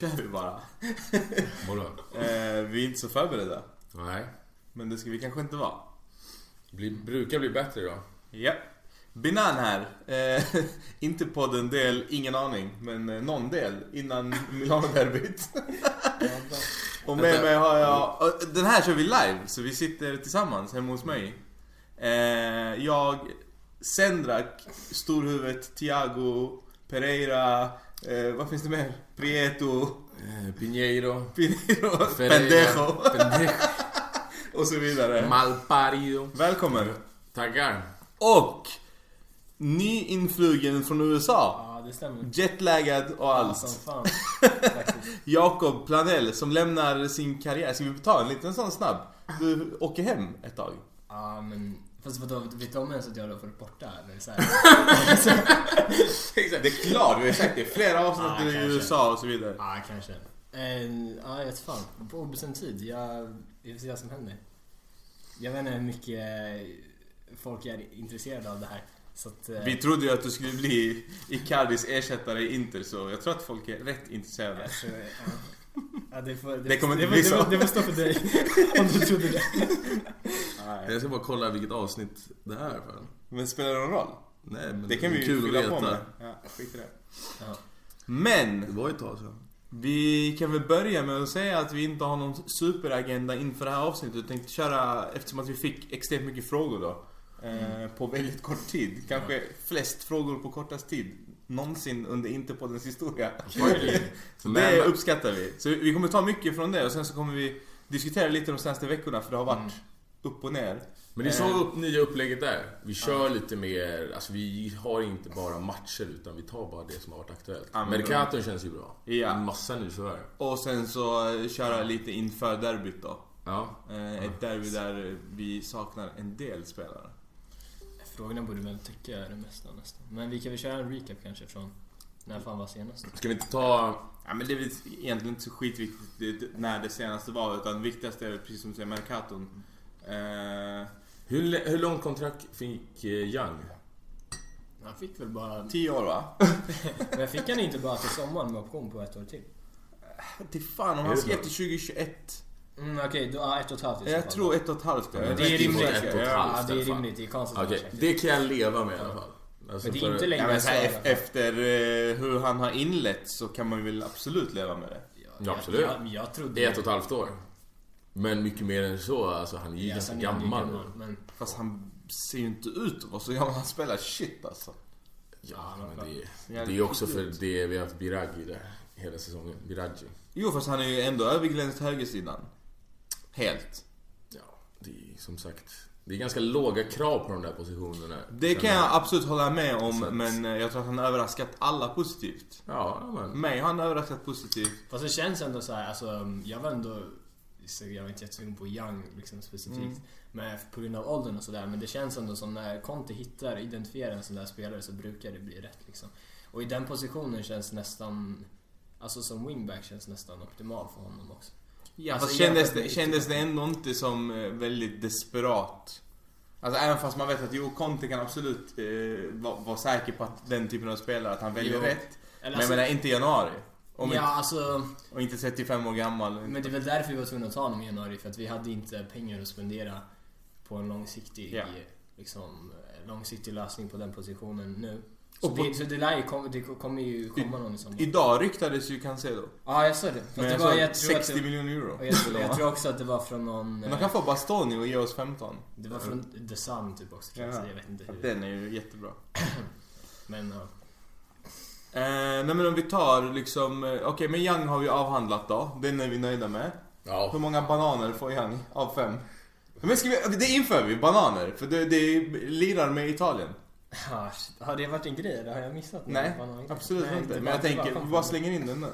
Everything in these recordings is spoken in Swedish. släppte vi bara. Vadå? Eh, vi är inte så förberedda. Nej. Men det ska vi kanske inte vara. Bli, brukar bli bättre idag. Ja. Binan här. Eh, inte podden del, ingen aning. Men eh, någon del innan Milano-derbyt. Och med mig har jag... och Den här kör vi live, så vi sitter tillsammans hemma hos mig. Eh, jag, Sendrak, Storhuvudet, Thiago, Pereira... Eh, vad finns det mer? Prieto, Eh, Pinheiro. Pinero, Ferreira, Pendejo Pendejo. och så vidare. Malparido. Välkommen! Taggar. Och nyinflugen från USA. Ja, det stämmer. Jetlaggad och Som allt. fan. faktiskt. Jakob Planell som lämnar sin karriär. Ska vi ta en liten sån snabb? Du åker hem ett tag. Ja, men... Fast vadå, vet de ens att jag har varit borta? Eller så här? Exakt, det är klart. Vi har sagt det i flera avsnitt Ah, i kanske. USA och så vidare. Ja, kanske. Eh, Ja, jag vet fan. På obestämd tid. Jag, jag får se vad som händer. Jag vet inte hur mycket folk är intresserade av det här. Så att... eh, Vi trodde ju att du skulle bli Icardis ersättare i Inter så jag tror att folk är rätt intresserade. jag tror- ja. Ja, det, får, Det kommer inte det, bli så. får- det, får- det får stå för dig. Om du trodde det. Jag ska bara kolla vilket avsnitt det här är för. Men spelar det någon roll? Nej, men Det kan vi ju kul fylla att på med. veta. Ja, skit i det. Ja. Det Men var ju ett tag sedan. Vi kan väl börja med att säga att vi inte har någon superagenda inför det här avsnittet. Jag tänkte köra, eftersom att vi fick extremt mycket frågor då. Eh, på väldigt kort tid. Kanske flest frågor på kortast tid. Någonsin under Interpoddens historia. så det Men- uppskattar vi. Så vi kommer ta mycket från det och sen så kommer vi diskutera lite de senaste veckorna för det har varit Mm. upp och ner. Men ni såg upp nya upplägget där. Vi kör lite mer, alltså vi har inte bara matcher utan vi tar bara det som har varit aktuellt. Ja, men bra. Mercaton känns ju bra. Ja. En massa nyförvärv. Och sen så eh, köra lite inför derbyt då. Ja. Eh, ett derby där vi saknar en del spelare. Frågorna borde väl tycka är det mesta nästan. Men vi kan väl köra en recap kanske från när fan var senast? Ska vi inte ta... Ja men det är väl egentligen inte så skitviktigt det- när det senaste var utan viktigast är väl precis som du säger Mercaton. Eh, Hur, hur långt kontrakt fick eh, Young? Han fick väl bara... tio år va? Men fick han inte bara till sommaren med option på ett år till? Till fan om Är han det skrev så? till 2021. Mm, Okej, då, ja, ett och ett halvt i så Jag fall. tror ett och ett halvt. Ja, men det är rimligt. Ja, Ett och ett halvt. Ja, det är i alla fall. rimligt. Det är konstigt. Okej, att man det kan jag leva med i alla fall. Alltså Men det är för- inte längre Ja, men så här, så i ef- alla fall. efter eh, hur han har inlett så kan man väl absolut leva med det. Ja, Ja, jag- absolut. Jag, jag trodde... Det är ett och ett halvt år. Men mycket mer än så, alltså han är ju Ja, ganska sen är han ju gammal. Men Fast han ser ju inte ut att vara så gammal. Han spelar shit alltså. Ja, men det, det är Jävligt ju också för skitigt. det vi har haft Biragi där hela säsongen. Biragi. Jo fast han är ju ändå överglänst högersidan. Helt. Ja, det är som sagt. Det är ganska låga krav på de där positionerna. Det kan jag absolut hålla med om Så att- men eh, jag tror att han har överraskat alla positivt. Ja, men. Mig har han överraskat positivt. fast det känns ändå så här, alltså jag var ändå... så Jag var inte jättesugen på Young liksom specifikt. Mm. Men på grund av åldern och sådär. Men det känns ändå som när Conte hittar, identifierar en sån där spelare så brukar det bli rätt liksom. Och i den positionen känns nästan... Alltså som wingback känns nästan optimal för honom också. Ja, Alltså, fast kändes, jämfört det, med- kändes det ändå inte som eh, väldigt desperat? Alltså även fast man vet att jo, Conte kan absolut eh, vara var säker på att den typen av spelare, att han väljer Jo. rätt. Eller alltså- men jag menar inte i januari. Om ja, alltså... inte, och inte 35 år gammal. Men det är väl därför vi var tvungna att ta honom i januari för att vi hade inte pengar att spendera på en långsiktig, Ja. liksom, långsiktig lösning på den positionen nu. Så, Och på- det, så det, lär ju kom, det kommer ju komma någon i sommar. Ja, Idag ryktades ju Cancelo. jag såg det. Fast Men det jag var, sa jag, tror att 60 det, miljoner euro. och jag, jag tror också att det var från någon... Men de kan eh, få Bastoni och ge oss 15. Det var från The Sun typ också tror jag, Ja. så jag vet inte hur. Den är ju jättebra. Men ja. Eh, nej men om vi tar liksom, eh, okej men Young har vi avhandlat då. Den är vi nöjda med. Hur Ja, många bananer får Young av fem? Men ska vi, det inför vi, bananer. För det, det lirar med Italien. Ah, shit. Har det varit en grej eller har jag missat något? Nej, Vad har jag- absolut Nej, inte. Men bara- jag tänker, bara- vi bara slänger in den nu.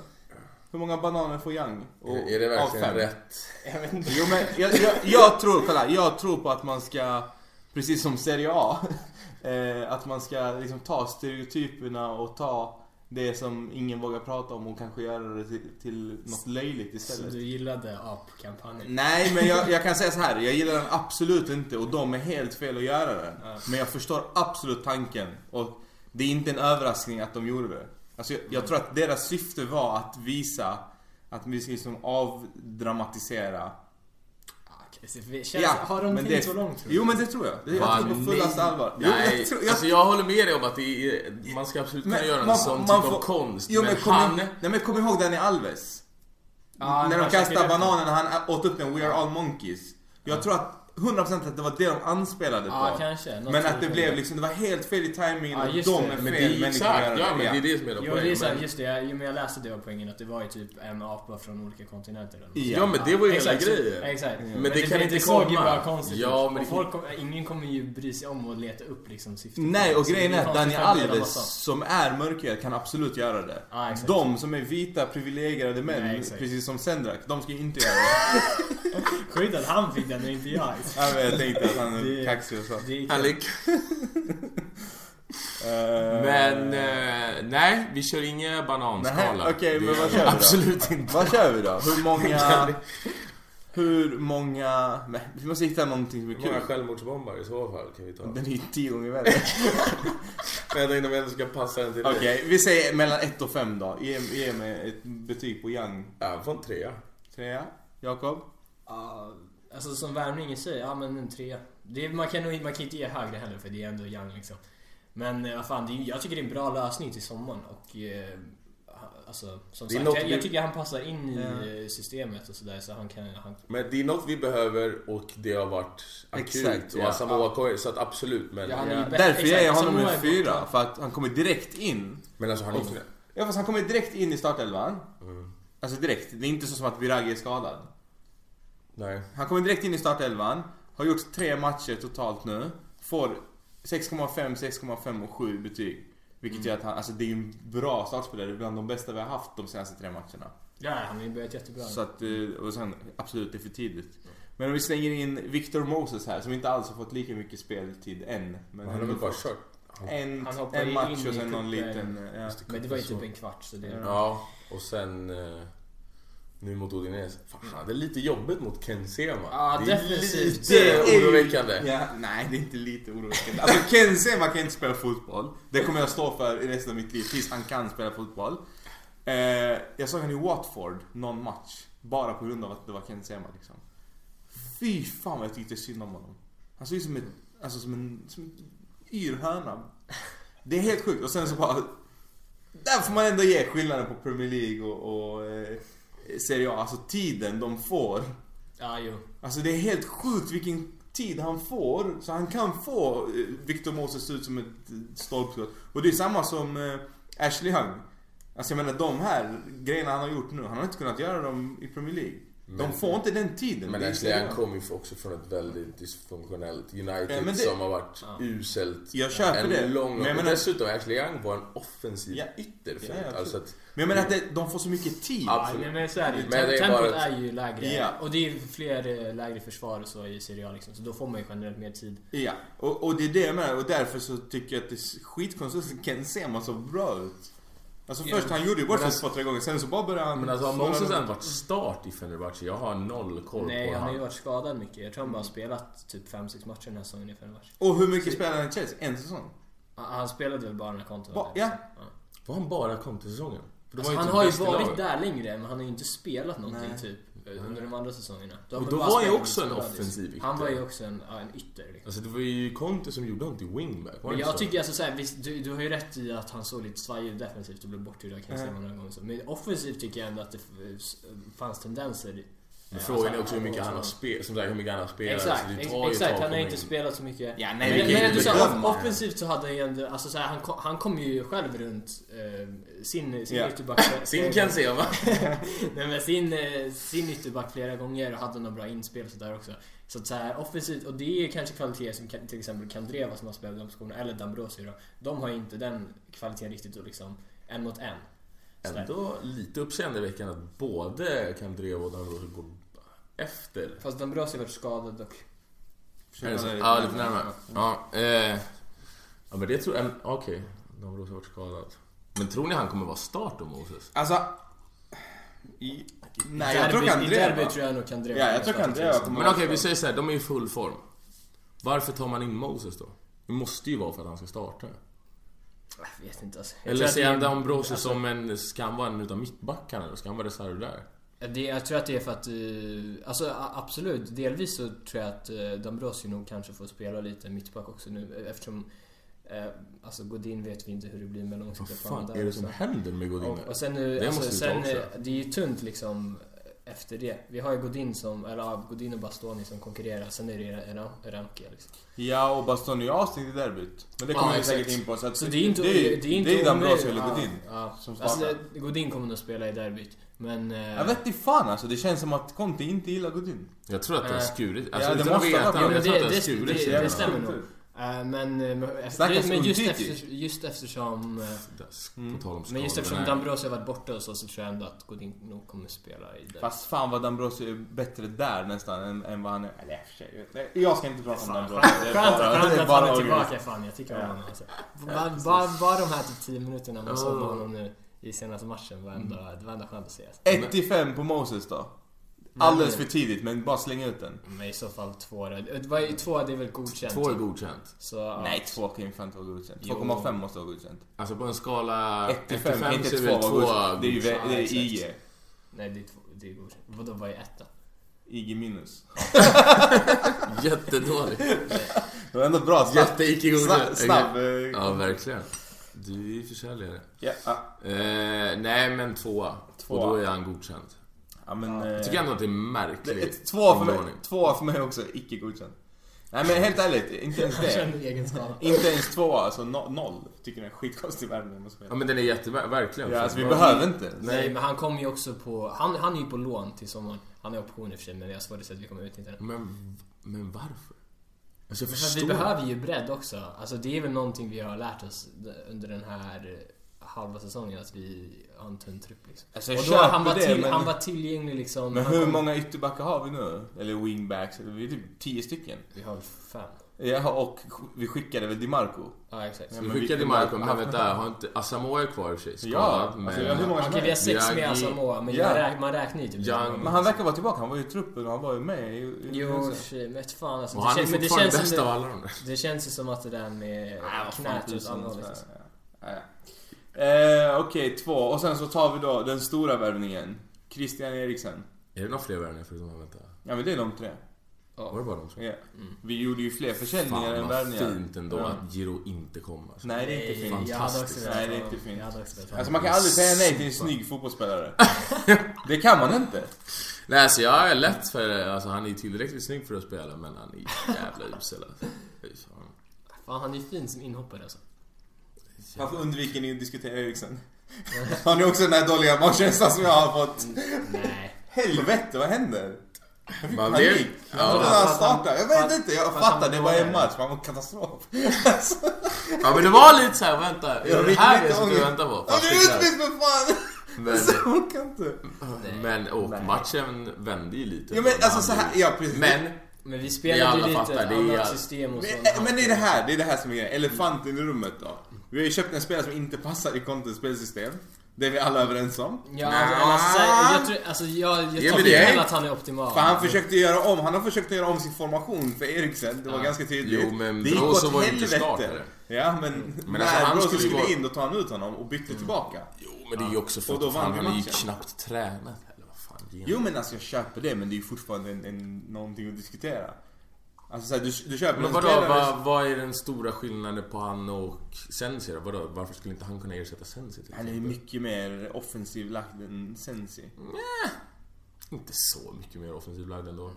Hur många bananer får Young? Och, är det verkligen rätt? Jag vet inte. Jo men jag, jag, jag tror, kolla, jag tror på att man ska, precis som Serie A, eh, att man ska liksom ta stereotyperna och ta det som ingen vågar prata om och kanske göra det till, till något löjligt Så istället. du gillade apkampanjen? Nej men jag, jag kan säga så här. jag gillar den absolut inte och de är helt fel att göra den. Ja. Men jag förstår absolut tanken och det är inte en överraskning att de gjorde det. Alltså jag, jag tror att deras syfte var att visa Att vi ska liksom avdramatisera. Ah, okej, så vi- känns, har de men tänkt det- så långt? tror du? Jo men det tror jag. Det, jag Va, tror på nej. fullast allvar. Jo, Nej, jag jag, tror, jag, alltså jag håller med dig om att det är, man ska absolut kunna Men göra en man- sån man typ får- av konst. jo, men men kom, han... nej, men kom ihåg den i Alves. Ja, när de han käkade kastade upp den. bananen och han åt upp den We are all monkeys. Jag tror att 100% att det var det de anspelade på. Ja, kanske. Något Men att det sånt. blev liksom, det var helt fel i timingen Ja, och de är just det. fel Men det är människor att göra exakt, ja men det är det som är Jo, det är poängen. så här, men- just det. Jag, jo, men jag läste det var poängen att det var ju typ en apa från olika kontinenter. eller något. Ja. Ja men det var ju hela exakt, så- grejen. Exakt. Men det kan inte det såg ju komma. bara konstigt Ja, ut. men Och det- folk kom, ingen kommer ju bry sig om att leta upp liksom syftet. Nej, och Så det grejen är att konstigt Daniel för en del av Alves oss. som är mörkhyad kan absolut göra det. Ja, exakt. De som är vita privilegierade män, Nej, exakt. precis som Sendrak, de ska ju inte göra det. Skönt att han fick den och inte jag. Ja, men jag tänkte att han är Det- kaxig och så. Det är Han kul. är Eh, Men eh, nej, vi kör inga bananskala. Nej, okej, Det men vad gör vi kör vi då? Absolut inte. Vad kör vi då? Hur många... Hur många... Men, vi måste hitta någonting som är Hur många kul. självmordsbombare i så fall kan vi ta? Den är ju tio gånger värre. Men jag tänkte om jag ändå ska passa den till Okej, dig. vi säger mellan ett och fem då. Ge, ge mig ett betyg på Young. Ja, från trea. Trea. Jakob? Ja, alltså som värmning i sig, ja men en trea. Det, är- man, kan, nog- man kan inte ge högre heller för det är ändå Young liksom. Men eh, vad fan, det, är- jag tycker det är en bra lösning till sommaren och eh, ha- Alltså, som Det är sagt, något jag, jag vi- tycker han passar in i eh, systemet och sådär så han kan... Han, Men det är något vi behöver och det har varit akut. Exakt, och ja. Asamoah Koe, så att absolut. Men, Ja, han är ju bäst. Därför ger jag Exakt, honom Samoa en är fyra. borta. För att han kommer direkt in. men alltså han är inte... Mm. Ja fast han kommer direkt in i startelvan. Alltså direkt. Det är inte så som att Biragi är skadad. Nej. Han kommer direkt in i startelvan. Har gjort tre matcher totalt nu. Får 6,5, 6,5 och 7 betyg. Vilket Mm. gör att han, alltså det är ju en bra startspelare. Bland de bästa vi har haft de senaste tre matcherna. ja, han har ju börjat jättebra. Så att, eh, och sen absolut, det är för tidigt. Men om vi slänger in Victor Moses här som inte alls har fått lika mycket speltid än. Men Han har väl bara kört. Han- en, Han hoppar en in match i och sen någon kuppen. liten... eh, Ja. det Men det var ju så. typ en kvart så det... Ja, och sen... eh, Nu mot Odinese. Fan, han hade lite jobbigt mot Ken Sema. Ja, det är definitivt. lite oroväckande. Ja, nej, det är inte lite oroväckande. Alltså Ken Sema kan inte spela fotboll. Det kommer jag stå för i resten av mitt liv tills han kan spela fotboll. Eh, jag såg han i Watford någon match. Bara på grund av att det var Ken Sema liksom. Fy fan vad jag tyckte synd om honom. Han såg ut som, ett, alltså, som en som en yr höna. Det är helt sjukt. Och sen så bara... Där får man ändå ge skillnaden på Premier League och, och eh, Serie A. Alltså tiden de får. Ja, jo. Alltså det är helt sjukt vilken tid han får. Så han kan få eh, Victor Moses ut som ett eh, stolpskott. Och det är samma som eh, Ashley Young. Alltså jag menar de här grejerna han har gjort nu. Han har inte kunnat göra dem i Premier League. de Men- får inte den tiden. Men Det är Ashley han seriöst. kom ju också från ett väldigt dysfunktionellt United Ja, men det- som har varit Ja. uselt. Jag köper en det. Lång, Men jag men menar- dessutom, Ashley Young var en offensiv Ja. ytterfält. Ja, absolut. alltså att, Men jag menar att det, de får så mycket tid. Ja. Ja, men så är det ju. Men det är Tempot bara ett- är ju lägre. Ja. Och det är ju fler eh, lägre försvar och så i Serie A liksom. Så då får man ju generellt mer tid. Ja. Och, och det är det jag menar. Och därför så tycker jag att det är skitkonstigt att Ken Sema så bra ut. Alltså Ja. först han gjorde ju bort Men sig ett alltså- par tre gånger. Sen så bara började han... men alltså har Moses snurra än varit start i Fenerbahce? Jag har noll koll Nej, på han han. har ju Mm. varit skadad mycket. Jag tror han bara har spelat typ 5-6 matcher den här säsongen i Fenerbahce. Och hur mycket spelade han i Chelsea? En säsong? Han- Han spelade väl bara den här kontot? Ba- ja. Var han bara kom till säsongen? För det Alltså, ju han typ har ju bäst i varit laget. där längre, men han har ju inte spelat någonting Nej. typ eh, under de andra säsongerna. Då har Och man då bara var han ju spelat också en med skadis. offensiv Han var ytter. ju också en, ja, en ytter. Liksom. Alltså det var ju Conte som gjorde honom till wingback. Var Men det jag så? tycker alltså såhär, visst, du, du har ju rätt i att han såg lite svajig ut defensivt och blev bortgjord av Kensema Mm. några gånger så. Men offensivt tycker jag ändå att det f- s- fanns tendenser. i- Men eh, Frågan alltså, är också hur mycket han har så- spelat. Som sagt, hur mycket han har spelat. Exakt, så det ex- tar ju ett tag exakt. att Han har komma ju inte in. spelat så mycket. Ja, vi Men, kan men ju ändå inte så här, bedöma. off- offensivt så hade han ju ändå, alltså så här, han, kom, han kom ju själv runt eh, sin, sin Ja. ytterback. Sin kan se va? Nej men sin, eh, sin ytterback flera gånger och hade några bra inspel och sådär också. Så att så här, offensivt, och det är kanske kvaliteter som kan, till exempel Kandreva som har spelat i de positionerna, eller Dambrosio då. De har ju inte den kvaliteten riktigt och liksom, en mot en. Så där. Ändå lite uppseendeväckande att både Kandreva och Dambrosio går efter. Fast Dambrosio har varit skadad och... Ja, Är det så? ah, lite närmare. Ja, eh, ja men det tror jag... Okej, Dambrosio har varit skadad. Men tror ni han kommer vara start då, Moses? Alltså... I, nej, I jag tror derby- I derby Kandreva. tror jag nog Kandreva Ja, jag kommer tror starta Kandreva till kommer- Men okej, vi säger så här, de är i full form. Varför tar man in Moses då? Det måste ju vara för att han ska starta. exempel. Jag vet inte alltså. Jag Eller tror att ser det är- han Dambrosio som en... Ska han vara en utav mittbackarna då? Ska han vara reserv där? Eh, Det, jag tror att det är för att, eh, alltså a- absolut, delvis så tror jag att eh, Dambrosio nog kanske får spela lite mittback också nu eh, eftersom eh, Alltså Godin vet vi inte hur det blir med Vad långsiktiga fan planer är där. det som också. händer med Godin? Och, och sen nu, Det alltså, måste vi ta sen, också. eh, det är ju tunt liksom efter det. Vi har ju Godin som, eller ja, Godin och Bastoni som konkurrerar, sen är det Ra- Ramke liksom. Ja, och Bastoni och Austin i derbyt. Men det Ja, kommer vi exakt. säkert in på. Så, att Så det är inte, det, är- det är inte det är Dambrosio omöjligt. eller Godin. Ja, som ja. Alltså, startar. det- Godin kommer nog spela i derbyt. Men... eh, Jag vet inte fan alltså, det känns som att Conte inte gillar Godin. Jag tror att det har Eh. skurit. Ja, Alltså, det utan att måste veta. vara- men Jag Ja, tror men att det har det- skurit det- sig. det mellan stämmer. dem. nog. eh, men eh, men- Stackars men just, Umtiti. efter, just eftersom... eh, Dask, Mm. På tal om skador. Men just eftersom Nej. Dambrosio har varit borta och så, så tror jag ändå att Godin nog kommer spela i derbyt. Fast fan vad Dambrosio är bättre där nästan än, än vad han är... Eller i och för sig. Nej, Jag ska inte prata om Dambrosio. Det är Skönt, bara- skönt det att han är orgel. tillbaka fan, jag tycker om Ja. honom alltså. Bara, bara, bara de här typ 10 minuterna man såg Ja. honom nu i senaste matchen var ändå, Mm. det var ändå skönt att se. Alltså. 1 till 5 på Moses då. Alldeles för tidigt, men bara släng ut den. Men i så fall två då. Det var ju Två det är väl godkänt? typ. Två är godkänt. Så, ja. Nej, 2 kan ju fan inte vara godkänt. Jo. 2,5 måste vara godkänt. Alltså på en skala... 1 till 5 kan inte så är 2 väl vara godkänt. Det är ju godkänt. vä- det är exakt. IG. Nej, det är, två, det är godkänt. Vadå, vad är ett då? IG minus. Jättedåligt. Det var ändå bra. Snabb, Jätte-icke snabb, godkänt. snabb. eh, Ja, verkligen. Du är ju försäljare. Ja, ja. Eh, nej, men tvåa. Tvåa. Och då är han godkänd. ja men... eh, Jag tycker ändå att det är Det är märkligt. ett, två, för mig, Omdaning. två för mig också, icke godkänt. Nej men helt ärligt, inte ens Han det. känner egen skada. Inte ens två, alltså no, noll. Tycker det är en skitkonstig värvning om man ska Ja, vara men den är jättevär... Verkligen. ärlig. Ja, alltså vi Fan, behöver inte ens. Nej, men han kommer ju också på... Han, han är ju på lån till sommaren. Han är option i och för sig, men jag har svårt att se att vi kommer utnyttja den. Men, men varför? Alltså jag För att vi förstår. behöver ju bredd också. Alltså det är väl någonting vi har lärt oss under den här halva säsongen att vi har en tunn trupp liksom. Alltså, och då köper han, var det, till, men- han var tillgänglig liksom. Men han hur kom- många ytterbackar har vi nu? Eller wingbacks? Vi är typ tio stycken. Vi har väl fem? Ja, och vi skickade väl DiMarco. Ja exakt. Ja, Vi men vi- skickade Marco, men vänta, har inte Asamoah är kvar i och för sig? Ja, Skadad, alltså, jag- hur men... många som Okej vi har helst. sex med Diagi- Asamoah, men Ja. jag räk, man räknar ju typ Diagi- Men han verkar vara tillbaka, han var ju i truppen och han var ju med i... i Jo, tjej, men vet fan alltså. Och han är kän- men fortfarande känns som bäst det- av alla de där. Det känns ju som att det där med Nej, vad fan, typ alltså. knät och tusen, annat så liksom. här, ja. Ja, ja. Eh, Okej, två. Och sen så tar vi då den stora värvningen. Christian Eriksen. Är det några fler värvningar förutom han? Vänta. Ja men det är de tre. Var det bara de som... Ja. Mm. Vi gjorde ju fler försäljningar Fan än vad värvningar. fint ändå Ja. att Giro inte kom alltså. Nej det är inte Nej, fint. jag hade också Fantastiskt. velat Nej, det är ha- inte fint. Jag hade också velat ha- Alltså man kan aldrig säga nej till en snygg fotbollsspelare. Det kan man inte. Nej alltså jag är lätt för det. Alltså han är ju tillräckligt snygg för att spela men han är jävla usel alltså. Fy fan. Fan han är ju fin som inhoppare alltså. Varför undviker ni att diskutera Eriksen? Har ni också den här dåliga magkänslan som jag har fått? Nej. Helvete vad händer? Jag fick Man panik. vet- Jag trodde Ja. han startade. Jag Fast- vet inte, jag fast han fattar. Det var var en där. match. Man var katastrof. Ja men det var lite såhär, vänta. Är Jag det fick här lite det som du ångest. väntar på? Ja, Fast du det är är klart. utbytt för fan! Men, Så man kan inte. men och Nej. matchen vände ju lite. Ja men alltså Han- så här, ja precis. Men Men vi Vi spelade alla ju lite fattar, det är annat alla- system och så. Men, men det är det här, det är det här som är grejen. Elefanten i rummet då. Vi har ju köpt en spelare som inte passar i Contes spelsystem. Det är vi alla överens om. Ja, alltså, alltså, jag, tror, alltså, jag, Ja, jag men tar det är- inte att han är optimal. För han försökte göra om, han har försökt göra om sin formation för Eriksen, det var Ja. ganska tydligt. Jo, men det gick Brozo åt var ju inte helvete. startare. Ja men, Men när alltså, han Brozo skulle ju skulle vara- Mm. in då tar han ut honom och bytte tillbaka. Jo men det är ju också för Och då att fan, vann vi han är ju matchen. knappt tränad. Eller vad fan ge Jo men alltså jag köper det men det är ju fortfarande en, en, någonting att diskutera. Alltså så liksom- här, du, du köper Men en vadå, spelare... vad, vad är den stora skillnaden på han och Sensi då? Vadå, varför skulle inte han kunna ersätta Sensi till Han är ju mycket mer offensiv lagd än Sensi. Inte så mycket mer offensiv lagd ändå.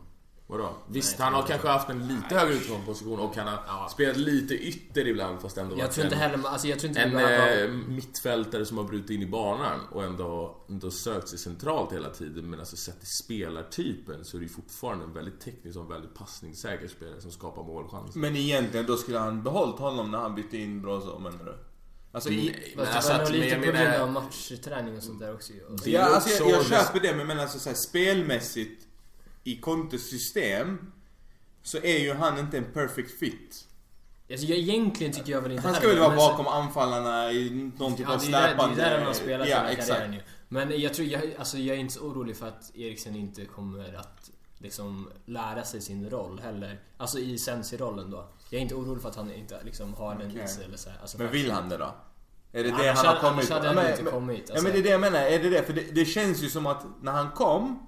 Vadå? Visst, jag han tror har kanske haft en lite högre utgångsposition och han har spelat lite ytter ibland fast ändå jag varit tror inte en- heller, alltså jag tror inte vi En behöver ha- eh, mittfältare som har brutit in i banan och ändå, ändå sökt sig centralt hela tiden men alltså sett till spelartypen så är det ju fortfarande en väldigt teknisk och väldigt passningssäker spelare som skapar målchanser. Men egentligen då skulle han behållit honom när han bytte in Brozo menar du? Alltså, i, Nej, men Fast alltså det var att- nog men lite jag på grund menar- av matchträning och sånt där också ju. Och så- Det är ja, ju alltså, jag, också- jag köper det men, men alltså, så här, spelmässigt i Contes system så är ju han inte en perfect fit. Alltså jag, egentligen tycker jag väl inte Han ska heller, väl vara men så- bakom anfallarna i någon typ Ja, av det är där, släpande... det är där han har spelat ja, hela exakt. karriären ju. Men jag tror, jag, alltså jag är inte så orolig för att Eriksen inte kommer att liksom lära sig sin roll heller. Alltså i Sensi-rollen då. Jag är inte orolig för att han inte liksom har den Okej. i sig eller så här. Alltså, Men vill han det då? Är det det Annars han har hade- kommit? annars hade Ja, han men- inte men- kommit, Ja, alltså. men det är det jag menar. Är det det? För det, det känns ju som att när han kom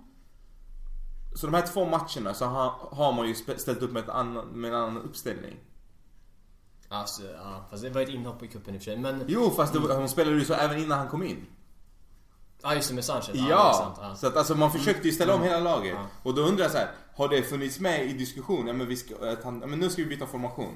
så de här två matcherna så har, har man ju spe- ställt upp med, ett annan, med en annan uppställning. Alltså, ja, fast det var ett inhopp i cupen i och för sig. Men, Jo, fast det, var- hon spelade ju så även innan han kom in. ja just det med Sanchez. Ja, det är Ja! sant, ja. Mm. Så att alltså man försökte ju ställa om hela laget. Ja. Och då undrar jag så här, har det funnits med i diskussionen? Ja, men, vi ska, att han, ja, men nu ska vi byta formation.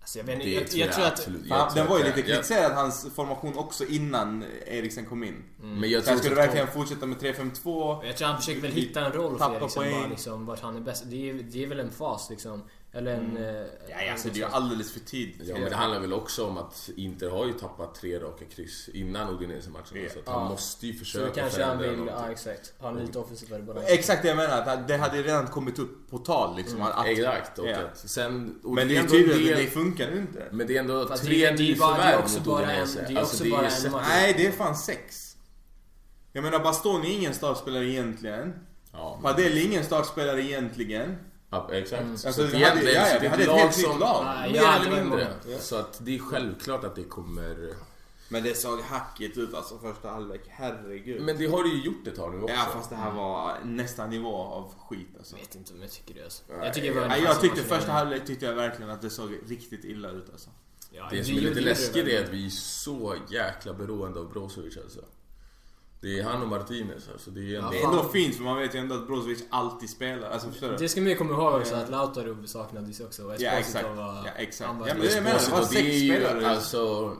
Alltså, jag, vet, inte, Det jag, tror jag jag tror att... absolut. För Jag han, tror den var ju att lite det- jag- kritiserad, hans formation, också innan Eriksen kom in. Mm. Men jag Så här, tror ska du också att- verkligen fortsätta med 3-5-2? Jag tror han försöker väl hitta en roll för Tappa Eriksen, poäng. bara liksom, vart han är bäst. Det är, det är väl en fas liksom. Eller en... eh, Mm. Ja, ja, alltså det är ju alldeles för tidigt. Ja, men det handlar väl också om att Inter har ju tappat tre raka kryss innan Udinese-matchen. Ja. Så att han Ja. måste ju Så då försöka kanske han vill, någonting. ja exakt. Ha en lite offensiv bara. Exakt det jag menar, att det hade redan kommit upp på tal liksom. Att, Exakt. Och Ja. att sen, och men det är ju ändå en tydligt att del- det, Mm. det funkar ju inte. Men det är ändå Fast det tre är- det är bara- det är nyförvärv också mot bara en- Udinese. Alltså, det är också bara en sett- match. Nej, det är fan sex. Jag menar Bastoni är ingen startspelare egentligen. Ja, men- Padel är ingen startspelare egentligen. ja, exakt. så Alltså, att vi hade- egentligen ja, ja, så vi det är hade ett lag helt nytt som... lag. Nej, Mer jävlar, eller vad mindre. många. Mm. Ja. Så att det är självklart att det kommer... Men det såg hackigt ut alltså första halvlek, herregud. Men det har det ju gjort ett tag nu också. ja fast det här var nästa nivå av skit alltså. Jag vet inte om jag tycker det alltså. Nej, Jag tycker det var en Nej, chansig jag tyckte match. första halvlek tyckte jag verkligen att det såg riktigt illa ut alltså. Ja, Det som är gjorde- lite gjorde läskigt väl. är att vi är så jäkla beroende av Brozovic alltså. Det är han och Martinez alltså. Det är ändå... Det är ändå fint för man vet ju ändå att Brozovic alltid spelar. Alltså förstår du? Det ska man ju komma ihåg också att Lautaro saknades ju också och Ja, Esposito exakt. var... Ja, exakt. han var- Ja, men Det det är jag menar, det var spåsigt och det sex är ju, spelare. alltså,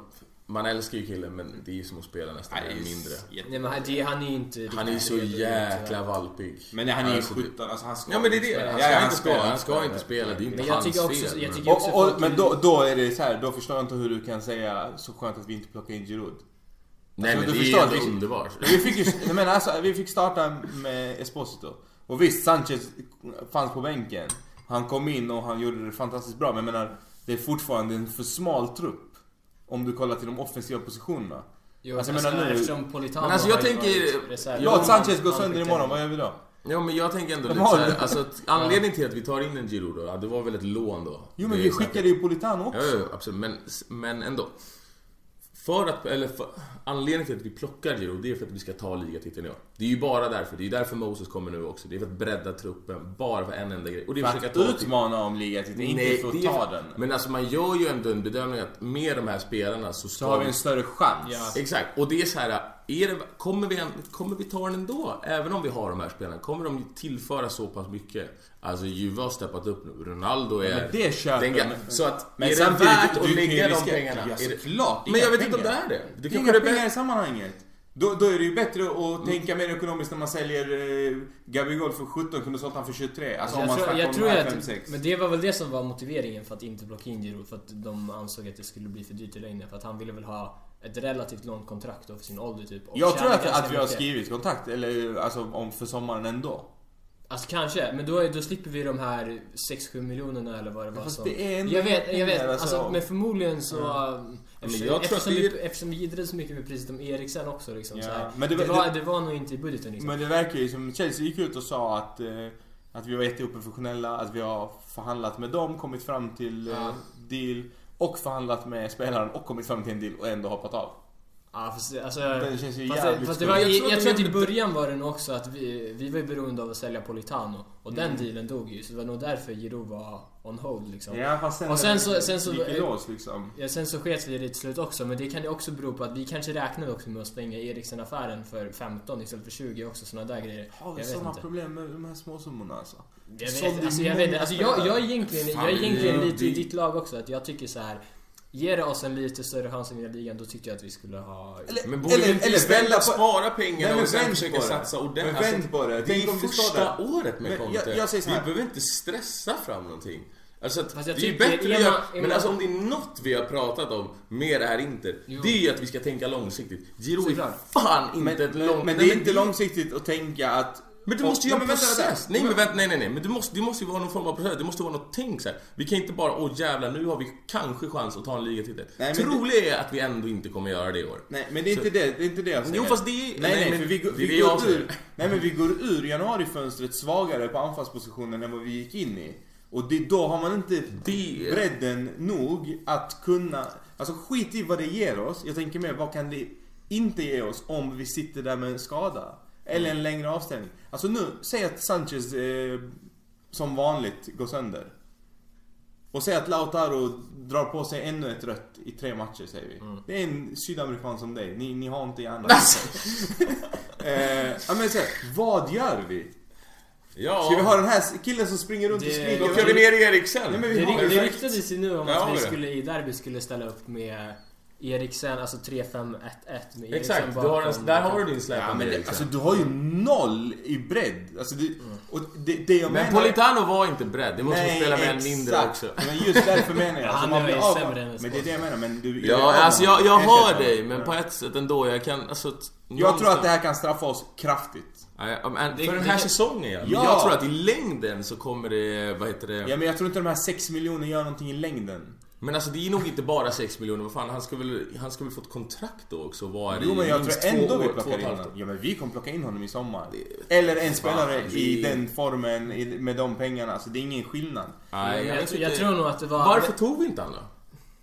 man älskar ju killen men det är ju som att spela nästan Nej, det är mindre. jätte- Nej men han- det, han är ju inte riktigt Han är ju så redo, jäkla tyvärr. valpig. Men han är ju Alltså, det- 17, alltså han ska Ja men det är inte det. spela. Han Ja, ska, ja, inte, spela. han ska inte spela. Det är inte Men jag hans tycker också... fel. Jag tycker också Och, och, folk- men då, då är det så här, då förstår jag inte hur du kan säga så skönt att vi inte plockar in Giroud. Nej Alltså, men du det är ju förstår att ändå vi- underbart. Vi fick ju, jag menar, alltså, vi fick starta med Esposito. Och visst, Sanchez fanns på bänken. Han kom in och han gjorde det fantastiskt bra. Men jag menar, det är fortfarande en för smal trupp. Om du kollar till de offensiva positionerna. Jo, Alltså, alltså, jag menar nu- eftersom Politano Men alltså, jag har ju tänker- varit reserv- Låt Sanchez Han- gå han sönder fick imorgon, den. vad gör vi då? Ja men jag tänker ändå De lite såhär, har- alltså att anledningen till att vi tar in en Giroud då, ja, det var väl ett lån då? Jo men Det är vi säkert- skickade ju Politano Ja, också. ja, absolut. Men, men ändå. För att, eller för, anledningen till att vi plockar Giroud, det är för att vi ska ta ligatiteln i år. Det är ju bara därför. Det är därför Moses kommer nu också. Det är för att bredda truppen, bara för en enda grej. Och det är För att utmana om ligatiteln, inte för att det är- ta den. Men alltså man gör ju ändå en bedömning att med de här spelarna så ska Så har vi en större chans. Ja. Exakt, och det är så här, är det, kommer, vi, en- kommer vi ta den ändå? Även om vi har de här spelarna, kommer de tillföra så pass mycket? Alltså Juve har steppat upp nu, Ronaldo är... men det köper den, jag, ga- men- Så att, men är det samtidigt, värt du kan att ju lägga de riskera- pengarna? Ja, Är det- såklart, Men inga jag vet inte om det pengar. är det. Det Det är kanske inga det är pengar i bäst- sammanhanget. Då, då är det ju bättre att tänka mer ekonomiskt när man säljer eh, Gabigol för 17, kunde sålt han för 23. Alltså om jag man tror, snackar jag om tror de här att, 5-6. men det var väl det som var motiveringen för att inte blocka in Giroud. För att de ansåg att det skulle bli för dyrt i längden. För att han ville väl ha ett relativt långt kontrakt då för sin ålder typ. och Jag tjäna tror att, ganska att vi har mycket. skrivit kontrakt, eller alltså om för sommaren ändå. Alltså kanske, men då, är- då slipper vi de här 6-7 miljonerna eller vad det var fast som... det är ändå jag vet, jag vet. pengar, alltså. Alltså, men förmodligen så... Eftersom, Men jag tror att eftersom, det vi, är- eftersom vi gidrade så mycket med priset om Eriksen också liksom, Ja, så här, men det det, var- var, det var nog inte i budgeten liksom. Men det verkar ju som Chelsea gick ut och sa att, eh, att vi var jätteoprofessionella, att vi har förhandlat med dem, kommit fram till eh, Ja. deal och förhandlat med spelaren och kommit fram till en deal och ändå hoppat av. Ja, fast, det- alltså, Den känns ju fast, jävligt det, fast det stor. var, Jag jag, tror att jag, det tror att är i lite- början var det nog också att vi, vi var ju beroende av att sälja Politano och Mm. den dealen dog ju så det var nog därför Giroud var on hold liksom. Ja, fast sen, Och sen så- sen så- gick det lås liksom. Ja, sen så sket vi det till slut också men det kan ju också bero på att vi kanske räknade också med att stänga Eriksen-affären för 15 istället för 20 också sådana där grejer. Har vi Jag vet sådana inte. problem med de här småsummorna alltså? Jag Sålde vet, ju alltså, jag, många vet, inte. alltså, jag, jag är egentligen, jag är Fan, egentligen ja, lite det- i ditt lag också att jag tycker så här. Ger det oss en lite större chans i den här ligan då tycker jag att vi skulle ha... Men borde Eller- vi inte eller istället vända på- spara pengarna Nej, men och sen vänd försöka på det. satsa ordentligt? Alltså, Men vänd på det. det är Tänk ju om vi första står året med Men Conte. jag- jag säger så vi här. behöver inte stressa fram någonting. Alltså att Fast det är jag ju tycker- bättre är att man- göra, är Men man- alltså om det är något vi har pratat om med det här Inter, Jo. det är ju att vi ska tänka långsiktigt. Giro är Såklart. fan Men, inte ett lång... men, men det Nej, är inte långsiktigt att tänka att... Men du och- måste ju Nej, ha en men vänta, process. vänta. Nej men vänta, nej nej nej. Men det måste, det måste ju vara någon form av process. Det måste vara något tänk så här. Vi kan inte bara, åh jävlar nu har vi kanske chans att ta en ligatitel. Nej, men Troligt är att vi ändå inte kommer göra det i år. Nej men det är inte det, det är inte det jag säger. Jo, fast det Nej är- nej, nej, men för vi, går- det är det vi jag går säger. ur... Nej men vi går ur januarifönstret svagare på anfallspositionen än vad vi gick in i. Och det, då har man inte Det- bredden nog att kunna... Alltså skit i vad det ger oss. Jag tänker mer, vad kan det inte ge oss om vi sitter där med en skada? Eller Mm. en längre avstängning. Alltså nu, säg att Sanchez eh, som vanligt går sönder. Och säg att Lautaro drar på sig ännu ett rött i tre matcher säger vi. Mm. Det är en sydamerikan som dig, ni, ni har inte hjärnan. Alltså, eh, ja, men så här, vad gör vi? Ja. Ska vi ha den här killen som springer runt och Det- skriker? Då kör vi ner Eriksen. Nej, men vi Det, har ry- ju det sagt- ryktades ju nu om Ja, att vi det. skulle, i derby skulle ställa upp med Eriksen, alltså 3-5-1-1 med Exakt, du bakom. har en, där har du din Ja, släpande men det, Eriksen. alltså, du har ju noll i bredd. Alltså, det, och det, det jag Mm. men menar... Politano var inte beredd. Det måste man spela med en mindre exakt. också. Men just därför menar jag. Ja, Alltså, han man är blir ju av... sämre än en Men det är det jag menar. Men du, Ja, alltså jag, jag hör ersätter dig, honom. men på ett sätt ändå. Jag kan... Alltså, att- Jag tror att det här kan straffa oss kraftigt. Nej, ja, men Det- För den här det- säsongen ja. Men Ja. Jag tror att i längden så kommer det... Vad heter det? Ja, men jag tror inte de här 6 miljoner gör någonting i längden. Men alltså det är nog inte bara 6 miljoner. Vad fan, han ska väl, han ska väl få ett kontrakt då också? Vad är det? Jo, men jag Minst tror ändå två vi år, två och plockar ett in halvt honom. Ja, men vi kommer plocka in honom i sommar. Eller en spelare i det- den formen, i- med de pengarna. Alltså, det är ingen skillnad. Nej, Men jag, vet tror- jag inte. tror nog att det var... Varför tog vi inte han då?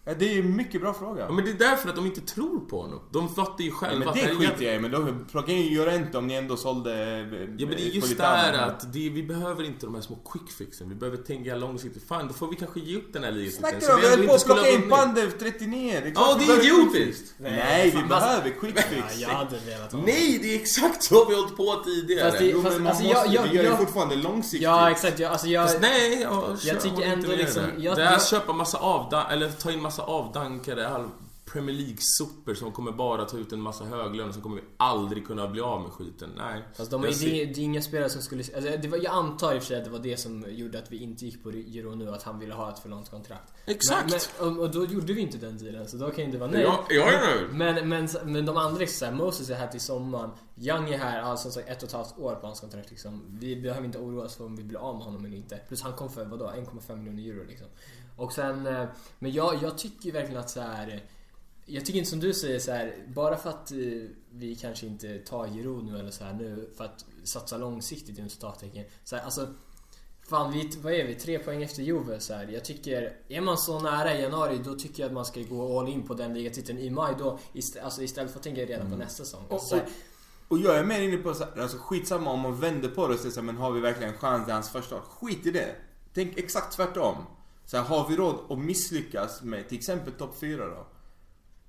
Ja, det är ju en mycket bra fråga. Ja, men det är därför att de inte tror på honom. De fattar ju Ja, själva men det att här är- skiter jag i, men då plocka in Llorente om ni ändå sålde eh, Ja men det är just Politano. där att det, vi behöver inte de här små quick fixen. Vi behöver tänka långsiktigt. Fan, då får vi kanske ge upp den här ligatiteln. Snackar du om? Vi ändå höll på att skulle plocka ha in vunnit. Pandev 39. är klart Ja, vi det är behöver quick idiotiskt. fix. Alltså, Nej, Nej, vi fan, vad- behöver quick Ja, fix. jag hade velat ha Nej, det är exakt så vi har hållit på tidigare. Fast det- Jo, men fast, man alltså, måste, jag- jag- vi gör det jag- fortfarande långsiktigt. Ja, exakt. Jag, alltså jag... Fast nej, jag, kör- tycker håller inte ändå med liksom- där. jag- det här jag- köpa massa avdankare, eller ta in massa avdankare halv Premier League-sopor som kommer bara ta ut en massa höglöner som kommer vi aldrig kunna bli av med skiten. Nej. Fast de, det, Jag är, ser- det, är inga spelare som skulle... Alltså det var, jag antar i och för sig att det var det som gjorde att vi inte gick på Giro nu, att han ville ha ett för långt kontrakt. Exakt! Men, men, och, och då gjorde vi inte den dealen, så då kan ju det vara nej. jag, jag är nöjd. Men, men, men de andra är så här, Moses är här till sommaren, Young är här, alltså så ett och ett halvt år på hans kontrakt liksom. Vi behöver inte oroa oss för om vi blir av med honom eller inte. Plus han kom för, vadå, 1,5 miljoner euro liksom. Och sen, eh, men jag, jag tycker ju verkligen att så här. Jag tycker inte som du säger så här, bara för att eh, vi kanske inte tar Giroud nu eller så här nu för att satsa långsiktigt inom citattecken. Så här, alltså, fan vi, vad är vi? Tre poäng efter Juve så här. Jag tycker, är man så nära i januari då tycker jag att man ska gå all in på den ligatiteln i maj då ist- alltså, istället för att tänka redan på nästa säsong. Och, Alltså, så och, här, och jag är mer inne på så här, alltså skitsamma om man vänder på det och säger så här, men har vi verkligen en chans? Det är hans första år. Skit i det. Tänk exakt tvärtom. Så här, har vi råd att misslyckas med till exempel topp 4 då?